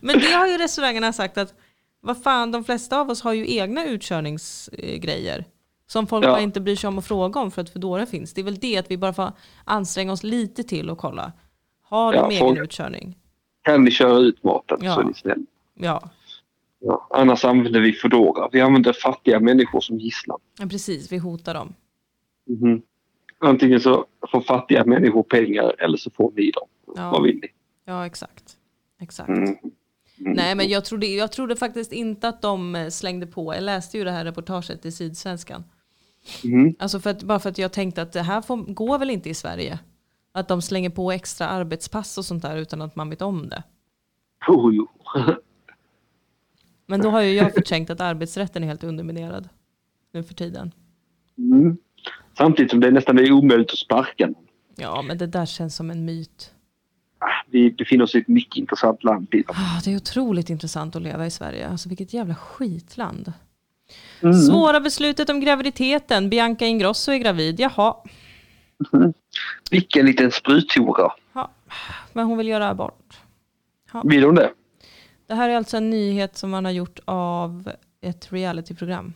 [SPEAKER 1] Men det har ju restaurangerna sagt att vad fan, de flesta av oss har ju egna utkörningsgrejer. Som folk
[SPEAKER 2] Ja.
[SPEAKER 1] bara inte bryr sig om att fråga om för att Foodora finns. Det är väl det att vi bara får anstränga oss lite till och kolla. Har de
[SPEAKER 2] Ja,
[SPEAKER 1] egen
[SPEAKER 2] fråga.
[SPEAKER 1] utkörning?
[SPEAKER 2] Kan ni köra ut maten
[SPEAKER 1] Ja.
[SPEAKER 2] så är ni snälla.
[SPEAKER 1] Ja.
[SPEAKER 2] Ja. Annars använder vi Foodora. Vi använder fattiga människor som gisslan.
[SPEAKER 1] Ja, precis, vi hotar dem.
[SPEAKER 2] Mhm. Antingen så får fattiga människor pengar eller så får vi dem.
[SPEAKER 1] Ja.
[SPEAKER 2] Vad vill ni?
[SPEAKER 1] Ja, exakt. Exakt.
[SPEAKER 2] Mm. Mm.
[SPEAKER 1] Nej, men jag trodde, jag trodde faktiskt inte att de eh, slängde på. Jag läste ju det här reportaget i Sydsvenskan.
[SPEAKER 2] Mm.
[SPEAKER 1] Alltså för att, bara för att jag tänkte att det här får, går väl inte i Sverige? Att de slänger på extra arbetspass och sånt där utan att man vet om det.
[SPEAKER 2] Oh, Jo, jo.
[SPEAKER 1] Men då har ju jag förträngt att arbetsrätten är helt underminerad nu för tiden.
[SPEAKER 2] Mm. Samtidigt som det nästan är omöjligt att sparka någon.
[SPEAKER 1] Ja, men det där känns som en myt.
[SPEAKER 2] Ah, Vi befinner oss i ett mycket intressant land. Peter.
[SPEAKER 1] Ah, det är otroligt intressant att leva i Sverige. Alltså vilket jävla skitland. Svåra beslutet om graviditeten. Bianca Ingrosso är gravid. Jaha.
[SPEAKER 2] Vilken liten spruthora.
[SPEAKER 1] Ja. Men hon vill göra abort.
[SPEAKER 2] Vill hon det?
[SPEAKER 1] Det här är alltså en nyhet som man har gjort av ett realityprogram.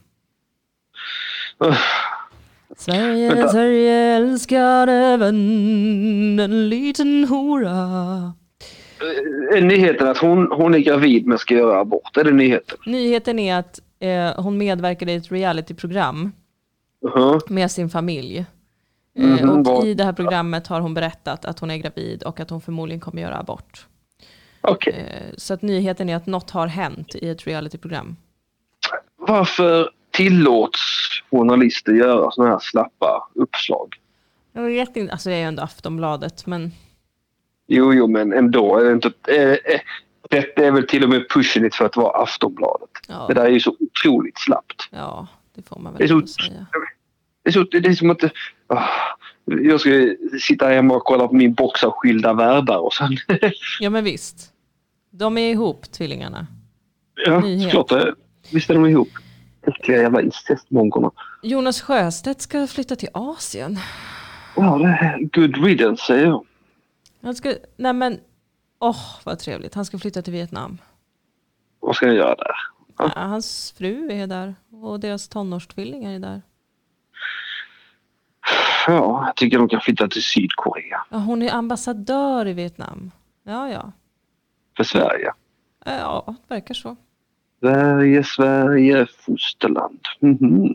[SPEAKER 2] Ugh.
[SPEAKER 1] Sverige,
[SPEAKER 2] Vänta.
[SPEAKER 1] Sverige älskar även en liten hora.
[SPEAKER 2] Är Eh, nyheten att hon, hon är gravid men ska göra abort? Är det nyheten?
[SPEAKER 1] Nyheten är att eh, hon medverkade i ett realityprogram
[SPEAKER 2] uh
[SPEAKER 1] med sin familj.
[SPEAKER 2] Mhm,
[SPEAKER 1] eh, och
[SPEAKER 2] vad-
[SPEAKER 1] i det här programmet har hon berättat att hon är gravid och att hon förmodligen kommer göra abort.
[SPEAKER 2] Okej.
[SPEAKER 1] Eh, så att nyheten är att något har hänt i ett realityprogram.
[SPEAKER 2] Varför tillåts journalister göra såna här slappa uppslag?
[SPEAKER 1] Jag vet inte, alltså det är ju ändå Aftonbladet men
[SPEAKER 2] Jo, jo, men ändå. Är det, inte, eh, eh, detta är väl till och med pushing it för att vara Aftonbladet.
[SPEAKER 1] ja.
[SPEAKER 2] Det där är ju så otroligt slappt.
[SPEAKER 1] Ja, det får man väl
[SPEAKER 2] Det är så-
[SPEAKER 1] ändå säga.
[SPEAKER 2] Det är, så, det är som att... ah, jag ska sitta hemma och kolla på min box av skilda världar och sen...
[SPEAKER 1] Ja men visst. De är ihop tvillingarna.
[SPEAKER 2] ja,
[SPEAKER 1] Nyhet.
[SPEAKER 2] klart det. Visst är de ihop. Äckliga jävla incestmonkorna.
[SPEAKER 1] Jonas Sjöstedt ska flytta till Asien.
[SPEAKER 2] Ja, det är good riddance, säger jag.
[SPEAKER 1] Han ska, nej men, åh vad trevligt. Han ska flytta till Vietnam.
[SPEAKER 2] Vad ska jag göra där?
[SPEAKER 1] Ja, hans fru är där och deras tonårstvillingar är där.
[SPEAKER 2] Ja, jag tycker de kan flytta till Sydkorea.
[SPEAKER 1] Ja, hon är ambassadör i Vietnam. Ja, ja.
[SPEAKER 2] För Sverige.
[SPEAKER 1] Eh, Ja, det verkar så.
[SPEAKER 2] Sverige, Sverige, fosterland. Mhm.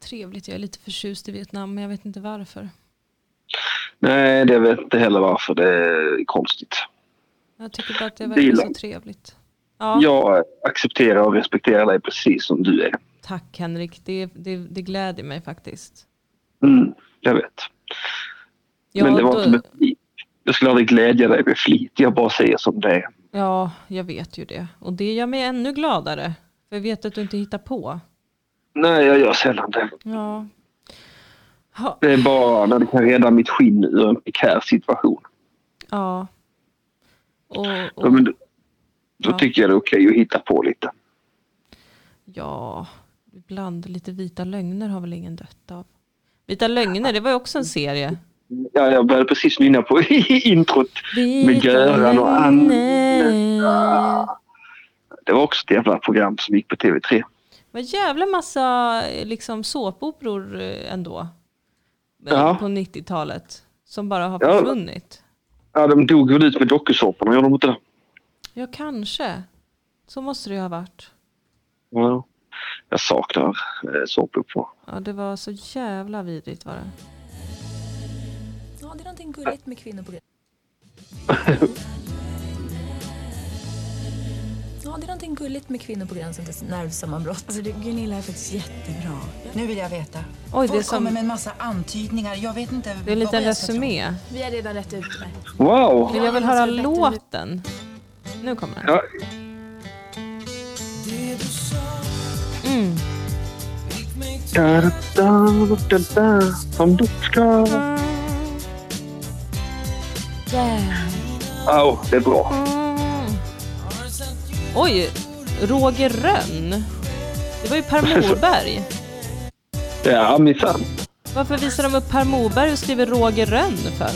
[SPEAKER 1] Trevligt, jag är lite förtjust i Vietnam men jag vet inte varför.
[SPEAKER 2] Nej, det vet inte heller varför. Det är konstigt.
[SPEAKER 1] Jag tycker bara att det verkar så
[SPEAKER 2] Bilan.
[SPEAKER 1] trevligt. Ja,
[SPEAKER 2] Jag accepterar och respekterar dig precis som du är.
[SPEAKER 1] tack Henrik, det, det, det gläder mig faktiskt.
[SPEAKER 2] Mm, jag vet.
[SPEAKER 1] Ja,
[SPEAKER 2] Men det var
[SPEAKER 1] då-
[SPEAKER 2] inte med flit. Jag skulle aldrig glädja dig med flit. Jag bara säger som det är.
[SPEAKER 1] Ja, jag vet ju det. Och det gör mig ännu gladare. För jag vet att du inte hittar på.
[SPEAKER 2] Nej, jag gör sällan det.
[SPEAKER 1] Ja. Ha,
[SPEAKER 2] Det är bara när det kan rädda mitt skinn ur en prekär situation.
[SPEAKER 1] ja. Och,
[SPEAKER 2] Ja,
[SPEAKER 1] och,
[SPEAKER 2] men då då
[SPEAKER 1] Ja.
[SPEAKER 2] tycker jag det är okej att hitta på lite.
[SPEAKER 1] ja, ibland lite vita lögner har väl ingen dött av. Vita lögner, det var ju också en serie.
[SPEAKER 2] Ja, jag började precis nynna på introt.
[SPEAKER 1] Vita
[SPEAKER 2] Göran och
[SPEAKER 1] lögner.
[SPEAKER 2] Det var också ett jävla program som gick på TV3.
[SPEAKER 1] Det var jävla massa eh, liksom, såpoperor eh, ändå. Eh,
[SPEAKER 2] Ja.
[SPEAKER 1] På 90-talet. Som bara har
[SPEAKER 2] Ja.
[SPEAKER 1] försvunnit.
[SPEAKER 2] Ja, de dog väl ut med dokusåporna, gjorde de inte det?
[SPEAKER 1] Ja, kanske. Så måste det ju ha varit.
[SPEAKER 2] Ja. Jag saknar eh, såpopera.
[SPEAKER 1] Ja, det var så jävla vidrigt var det.
[SPEAKER 3] Ja, det är någonting gulligt med kvinnor på gränsen. Ja, det är någonting gulligt med kvinnor på gränsen till nervsammanbrott.
[SPEAKER 4] Alltså, det- Gunilla är faktiskt jättebra. Nu vill jag veta.
[SPEAKER 1] Oj, det är
[SPEAKER 4] Folk
[SPEAKER 1] som-
[SPEAKER 4] kommer med en massa antydningar. Jag vet inte
[SPEAKER 1] Det är en
[SPEAKER 4] vad
[SPEAKER 1] liten
[SPEAKER 4] jag ska tro.
[SPEAKER 1] resumé.
[SPEAKER 5] Vi är redan rätt ut med.
[SPEAKER 2] Wow!
[SPEAKER 1] Men jag vill höra låten. Nu kommer den.
[SPEAKER 2] Ja,
[SPEAKER 1] Mm.
[SPEAKER 2] Da, da, da, da, da, som du ska. Au, det är bra.
[SPEAKER 1] Mm. Oj, Roger Rönn. Det var ju Per Morberg.
[SPEAKER 2] Ja, minsann.
[SPEAKER 1] Varför visar de upp Per Morberg och skriver Roger Rönn för?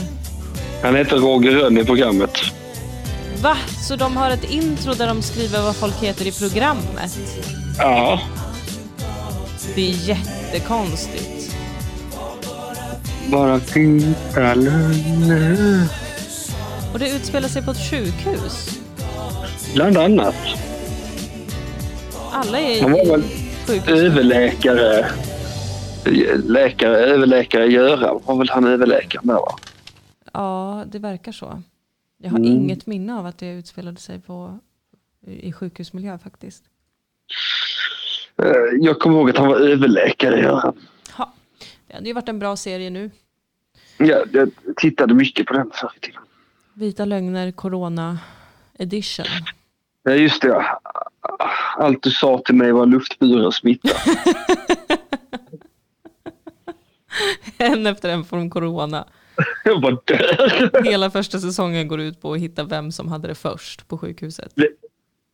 [SPEAKER 2] Han heter Roger Rönn i programmet.
[SPEAKER 1] Va? Så de har ett intro där de skriver vad folk heter i programmet?
[SPEAKER 2] Ja.
[SPEAKER 1] Det är jättekonstigt.
[SPEAKER 2] Bara titta lugnt.
[SPEAKER 1] Och det utspelar sig på ett sjukhus.
[SPEAKER 2] Bland annat.
[SPEAKER 1] alla är
[SPEAKER 2] Han var väl
[SPEAKER 1] sjukhus.
[SPEAKER 2] överläkare. Läkare, överläkare Göran var väl han överläkaren där va?
[SPEAKER 1] Ja, det verkar så. Jag har
[SPEAKER 2] Mm.
[SPEAKER 1] inget minne av att det utspelade sig på, i sjukhusmiljö faktiskt.
[SPEAKER 2] Eh, Jag kommer ihåg att han var överläkare Göran.
[SPEAKER 1] Ja, det hade ju varit en bra serie nu.
[SPEAKER 2] Ja, jag tittade mycket på den förr i tiden.
[SPEAKER 1] Vita lögner, corona edition.
[SPEAKER 2] Ja, just det. ja. Allt du sa till mig var luftburen smitta.
[SPEAKER 1] En efter en från corona.
[SPEAKER 2] Jag var död.
[SPEAKER 1] Hela första säsongen går ut på att hitta vem som hade det först på sjukhuset.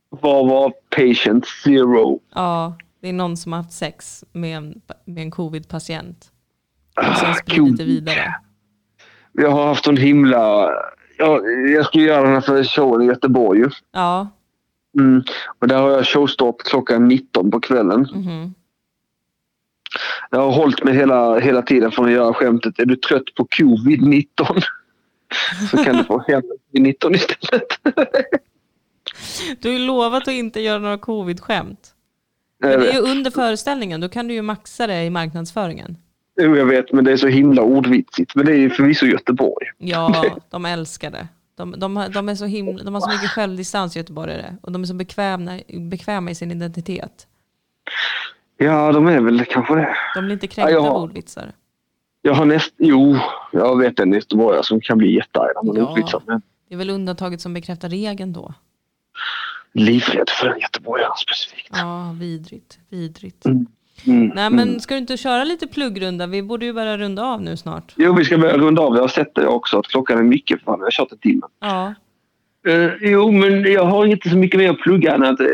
[SPEAKER 2] Vad var patient zero?
[SPEAKER 1] Ja, det är någon som har haft sex med en, med en covid-patient. Och
[SPEAKER 2] Ah,
[SPEAKER 1] sen spridit det
[SPEAKER 2] Gud.
[SPEAKER 1] vidare.
[SPEAKER 2] Jag har haft en himla... Jag, jag ska göra den här showen i Göteborg ju.
[SPEAKER 1] Ja,
[SPEAKER 2] Mm. Och där har jag showstopp klockan 19 på kvällen.
[SPEAKER 1] mhm.
[SPEAKER 2] Jag har hållit mig hela, hela tiden från att göra skämtet. Är du trött på covid-19? Så kan du få hem covid-19 istället.
[SPEAKER 1] Du har ju lovat att inte göra några covid-skämt.
[SPEAKER 2] Jag
[SPEAKER 1] Men det är
[SPEAKER 2] vet.
[SPEAKER 1] ju under föreställningen, då kan du ju maxa det i marknadsföringen.
[SPEAKER 2] Jo, jag vet, men det är så himla ordvitsigt. Men det är ju förvisso Göteborg.
[SPEAKER 1] Ja, de älskar det. De, de, har- de, är så himla, de har så mycket självdistans göteborgare och de är så bekväma, bekväma i sin identitet.
[SPEAKER 2] Ja, de är väl kanske det.
[SPEAKER 1] De blir inte kränkta
[SPEAKER 2] Ja, jag-
[SPEAKER 1] av ordvitsar.
[SPEAKER 2] Jag har näst... Jo, jag vet en göteborgare som kan bli jättearg när man
[SPEAKER 1] Ja.
[SPEAKER 2] är ordvitsar. Men
[SPEAKER 1] Det är väl undantaget som bekräftar regeln då.
[SPEAKER 2] livrädd för en göteborgare specifikt.
[SPEAKER 1] Ja, vidrigt. vidrigt.
[SPEAKER 2] Mm.
[SPEAKER 1] Nej, men ska du inte köra lite pluggrunda? Vi borde ju börja runda av nu snart.
[SPEAKER 2] Jo, vi ska börja runda av. Jag har sett det också, att klockan är mycket. Fan, jag har kört en timme.
[SPEAKER 1] Ja,
[SPEAKER 2] Eh, jo, men jag har inte så mycket mer att plugga än att eh,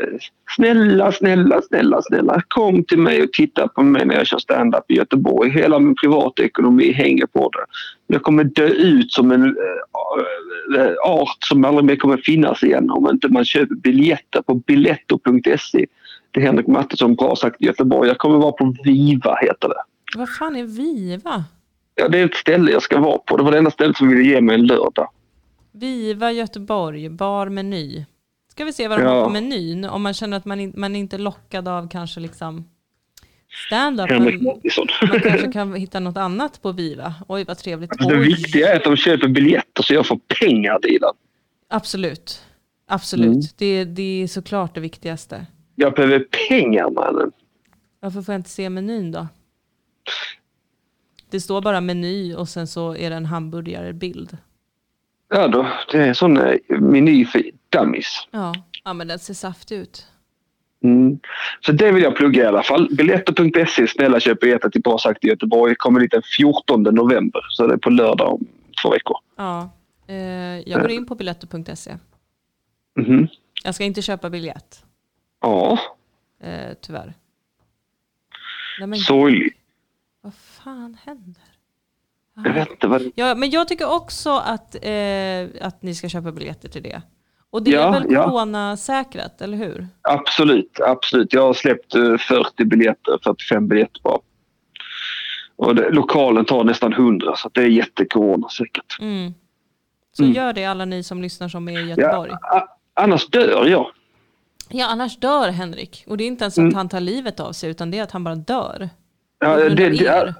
[SPEAKER 2] eh, snälla, snälla, snälla, snälla kom till mig och titta på mig när jag kör stand-up i Göteborg. Hela min privatekonomi hänger på det. Jag kommer dö ut som en eh, eh, art som aldrig mer kommer finnas igen om inte man köper biljetter på biletto.se. Det är Henrik Mattisson bra sagt i Göteborg. Jag kommer vara på Viva heter det.
[SPEAKER 1] vad fan är Viva?
[SPEAKER 2] Ja, det är ett ställe jag ska vara på. Det var det enda stället som ville ge mig en lördag.
[SPEAKER 1] Viva Göteborg, bar meny. Ska vi se vad de
[SPEAKER 2] Ja.
[SPEAKER 1] har på menyn om man känner att man, in, man är inte är lockad av kanske liksom stand-up.
[SPEAKER 2] Henrik
[SPEAKER 1] Men
[SPEAKER 2] Mattisson.
[SPEAKER 1] Mm. man kanske kan hitta något annat på Viva. Oj vad trevligt.
[SPEAKER 2] Alltså, Det
[SPEAKER 1] Oj.
[SPEAKER 2] viktiga är att de köper biljetter så jag får pengar till den.
[SPEAKER 1] Absolut. Absolut.
[SPEAKER 2] Mm.
[SPEAKER 1] Det, det är såklart det viktigaste.
[SPEAKER 2] Jag behöver pengar mannen.
[SPEAKER 1] Varför får jag inte se menyn då? Det står bara meny och sen så är det en hamburgarbild.
[SPEAKER 2] Ja då, det är en sån eh, meny för dummies.
[SPEAKER 1] Ja. ja, men den ser saftig ut.
[SPEAKER 2] Mm. Så det vill jag plugga i alla fall. Biljetter.se, snälla köp biljetter till Bra sagt i Göteborg. Kommer dit den 14 november, så det är på lördag om två veckor.
[SPEAKER 1] Ja. Eh, jag går in på biletto.se.
[SPEAKER 2] Mhm.
[SPEAKER 1] Jag ska inte köpa biljett,
[SPEAKER 2] Ja,
[SPEAKER 1] eh, tyvärr. Nej, men
[SPEAKER 2] sorgligt.
[SPEAKER 1] vad fan händer?
[SPEAKER 2] Jag vet inte vad det...
[SPEAKER 1] Ja, men jag tycker också att, eh, att ni ska köpa biljetter till det. Och det
[SPEAKER 2] Ja,
[SPEAKER 1] är väl
[SPEAKER 2] ja.
[SPEAKER 1] coronasäkrat, eller hur?
[SPEAKER 2] Absolut, absolut. Jag har släppt eh, 40 biljetter, 45 biljetter bara. Och det, lokalen tar nästan 100 så att det är jättekorona säkert.
[SPEAKER 1] Mm. Så gör det alla ni som lyssnar som är i Göteborg.
[SPEAKER 2] Mm. Ja,
[SPEAKER 1] Ja.
[SPEAKER 2] a- annars dör jag.
[SPEAKER 1] annars dör Henrik. Och det är inte ens att han tar livet av sig, utan det är att han bara dör.
[SPEAKER 2] Mm. Ja,
[SPEAKER 1] På grund
[SPEAKER 2] det,
[SPEAKER 1] av
[SPEAKER 2] det,
[SPEAKER 1] er.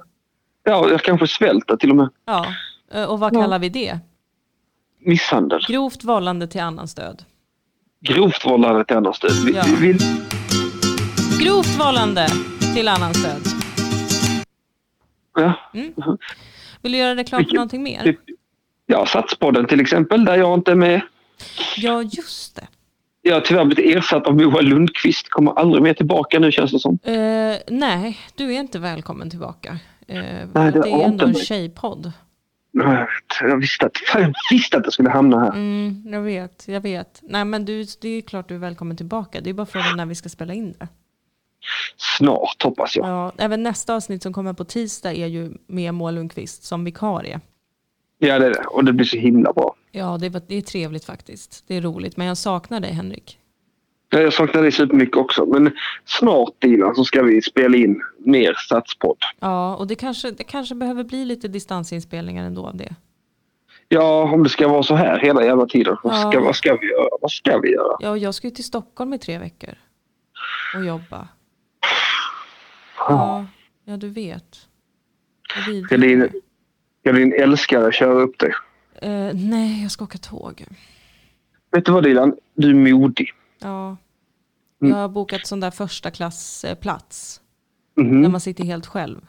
[SPEAKER 2] ja, jag kanske svälter till och med.
[SPEAKER 1] Ja. Eh, Och vad kallar vi det?
[SPEAKER 2] Misshandel.
[SPEAKER 1] Grovt vållande till annans död.
[SPEAKER 2] Grovt vållande till annans död. Vi,
[SPEAKER 1] Ja.
[SPEAKER 2] vi, vi,
[SPEAKER 1] Grovt vållande till annans död.
[SPEAKER 2] ja.
[SPEAKER 1] Mm. Vill du göra reklam för
[SPEAKER 2] Vilken-
[SPEAKER 1] någonting mer?
[SPEAKER 2] Typ, ja, Satspodden till exempel, där jag inte är med.
[SPEAKER 1] Ja, just det.
[SPEAKER 2] Jag har tyvärr blivit ersatt av Moa Lundqvist. Kommer aldrig mer tillbaka nu känns det som.
[SPEAKER 1] Eh, nej, du är inte välkommen tillbaka. Eh,
[SPEAKER 2] Nej, det
[SPEAKER 1] det är
[SPEAKER 2] var
[SPEAKER 1] ändå
[SPEAKER 2] inte
[SPEAKER 1] en
[SPEAKER 2] mig.
[SPEAKER 1] tjejpodd.
[SPEAKER 2] Jag visste att, fan, jag visste att jag skulle hamna här.
[SPEAKER 1] Mm, jag vet, jag vet. Nej, men du, det är klart du är välkommen tillbaka. Det är bara frågan när vi ska spela in det.
[SPEAKER 2] Snart hoppas jag.
[SPEAKER 1] Ja, även nästa avsnitt som kommer på tisdag är ju med Moa Lundqvist som vikarie.
[SPEAKER 2] Ja, det är det. Och det blir så himla bra.
[SPEAKER 1] Ja, det, var, det är trevligt faktiskt. Det är roligt, men jag saknar dig Henrik.
[SPEAKER 2] Ja, Jag saknar dig supermycket också. Men snart Dilan så ska vi spela in mer Satspodd.
[SPEAKER 1] Ja, och det kanske, det kanske behöver bli lite distansinspelningar ändå av det.
[SPEAKER 2] Ja, om det ska vara så här hela jävla tiden. Vad
[SPEAKER 1] Ja.
[SPEAKER 2] ska, vad ska vi göra? Vad ska vi göra?
[SPEAKER 1] Ja, och jag ska ju till Stockholm i tre veckor. och jobba. Ja, ja du vet. Jag vill-
[SPEAKER 2] Ska din, ska din älskare köra upp dig?
[SPEAKER 1] Eh, nej, jag ska åka tåg.
[SPEAKER 2] Vet du vad Dilan? Du är modig.
[SPEAKER 1] Ja. Jag har bokat sån där första klassplats. Där man sitter helt själv.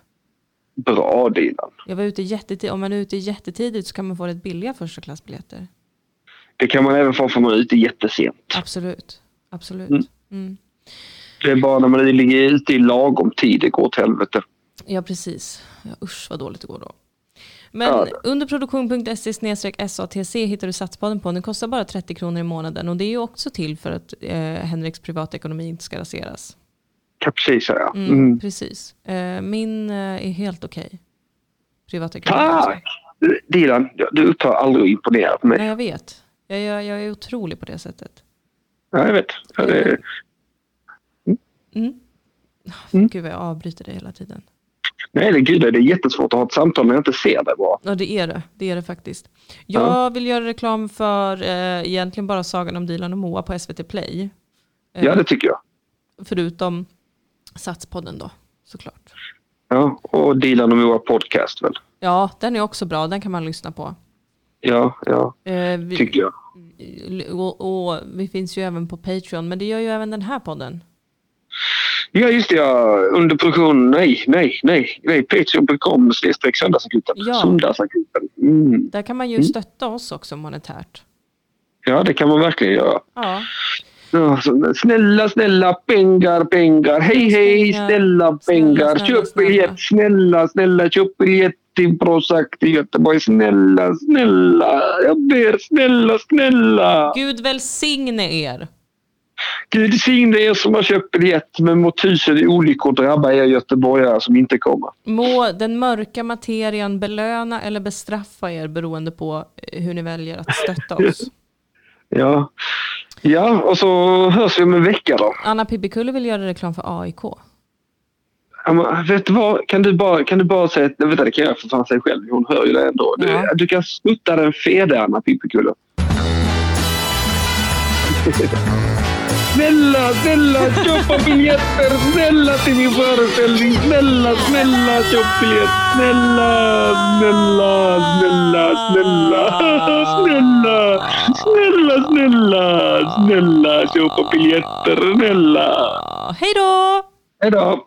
[SPEAKER 2] Bra Dilan.
[SPEAKER 1] Jag var ute jättetidigt. Om man är ute jättetidigt så kan man få rätt billiga första klassbiljetter.
[SPEAKER 2] Det kan man även få om man är ute jättesent.
[SPEAKER 1] Absolut. Absolut. Mm.
[SPEAKER 2] Det är bara när man ligger ute i lagom tid det går till helvete.
[SPEAKER 1] Ja, precis. Ja, usch vad dåligt det går då. Men
[SPEAKER 2] Ja.
[SPEAKER 1] under produktion.se SATC hittar du Satsbaden på. Den kostar bara 30 kronor i månaden och det är ju också till för att eh, Henriks privatekonomi inte ska raseras.
[SPEAKER 2] Kan precis säga.
[SPEAKER 1] Mm,
[SPEAKER 2] Mm.
[SPEAKER 1] Precis. Eh, min eh, är helt okej. Privatekonomi. också.
[SPEAKER 2] Tack! Dilan, du upptar aldrig att imponera på mig.
[SPEAKER 1] Nej, jag vet. Jag, jag, jag är otrolig på det sättet.
[SPEAKER 2] Ja, jag vet. Ja, det,
[SPEAKER 1] Mm. Ah,
[SPEAKER 2] Mm.
[SPEAKER 1] Gud vad jag avbryter det hela tiden.
[SPEAKER 2] nej, det, gud, det är jättesvårt att ha ett samtal när jag inte ser dig bra.
[SPEAKER 1] Ja, det är det. Det är det faktiskt. Jag vill göra reklam för eh, egentligen bara Sagan om Dilan och Moa på SVT Play. Eh,
[SPEAKER 2] Ja,
[SPEAKER 1] Mm.
[SPEAKER 2] det tycker jag.
[SPEAKER 1] Förutom Satspodden då, såklart.
[SPEAKER 2] Ja, och Dilan och Moa podcast väl?
[SPEAKER 1] Ja, den är också bra. Den kan man lyssna på.
[SPEAKER 2] Ja, ja,
[SPEAKER 1] Eh, vi,
[SPEAKER 2] tycker jag.
[SPEAKER 1] och, och vi finns ju även på Patreon, men det gör ju även den här podden.
[SPEAKER 2] Ja, just det. Ja. Under produktion, nej, nej, nej. nej. Patreon.com snedstreck söndagsakuten.
[SPEAKER 1] Ja.
[SPEAKER 2] Söndagsakuten. Mm.
[SPEAKER 1] Där kan man ju stötta oss också monetärt.
[SPEAKER 2] Ja, det kan man verkligen göra.
[SPEAKER 1] Ja,
[SPEAKER 2] Ja, så, snälla, snälla, pengar, pengar. Hej, hej,
[SPEAKER 1] Pengar.
[SPEAKER 2] snälla, pengar.
[SPEAKER 1] snälla,
[SPEAKER 2] Köp
[SPEAKER 1] snälla.
[SPEAKER 2] biljett, snälla, snälla. Köp biljett till Prozac till Göteborg. Snälla, snälla. Jag ber, snälla, snälla.
[SPEAKER 1] Gud välsigne er.
[SPEAKER 2] Gud signe er som har köpt biljett, men må tusen olyckor drabba er göteborgare som inte kommer.
[SPEAKER 1] Må den mörka materian belöna eller bestraffa er beroende på eh, hur ni väljer att stötta oss.
[SPEAKER 2] Ja. ja, och så hörs vi om en vecka då.
[SPEAKER 1] Anna Pippikulle vill göra reklam för AIK.
[SPEAKER 2] Ja, men vet du vad? Kan du bara, kan du bara säga... Nej, Vänta, det kan jag för fan säga själv. Hon hör ju det ändå. Du,
[SPEAKER 1] Ja.
[SPEAKER 2] du kan smutta den fede, Anna Pippikulle. Snälla, snälla, köpa biljetter! Snälla till min föreställning! Snälla, snälla, köp biljett! Snälla, snälla, snälla, snälla, snälla, snälla, snälla, snälla, köpa biljetter, snälla!
[SPEAKER 1] Ah, Hej då!
[SPEAKER 2] Hej då!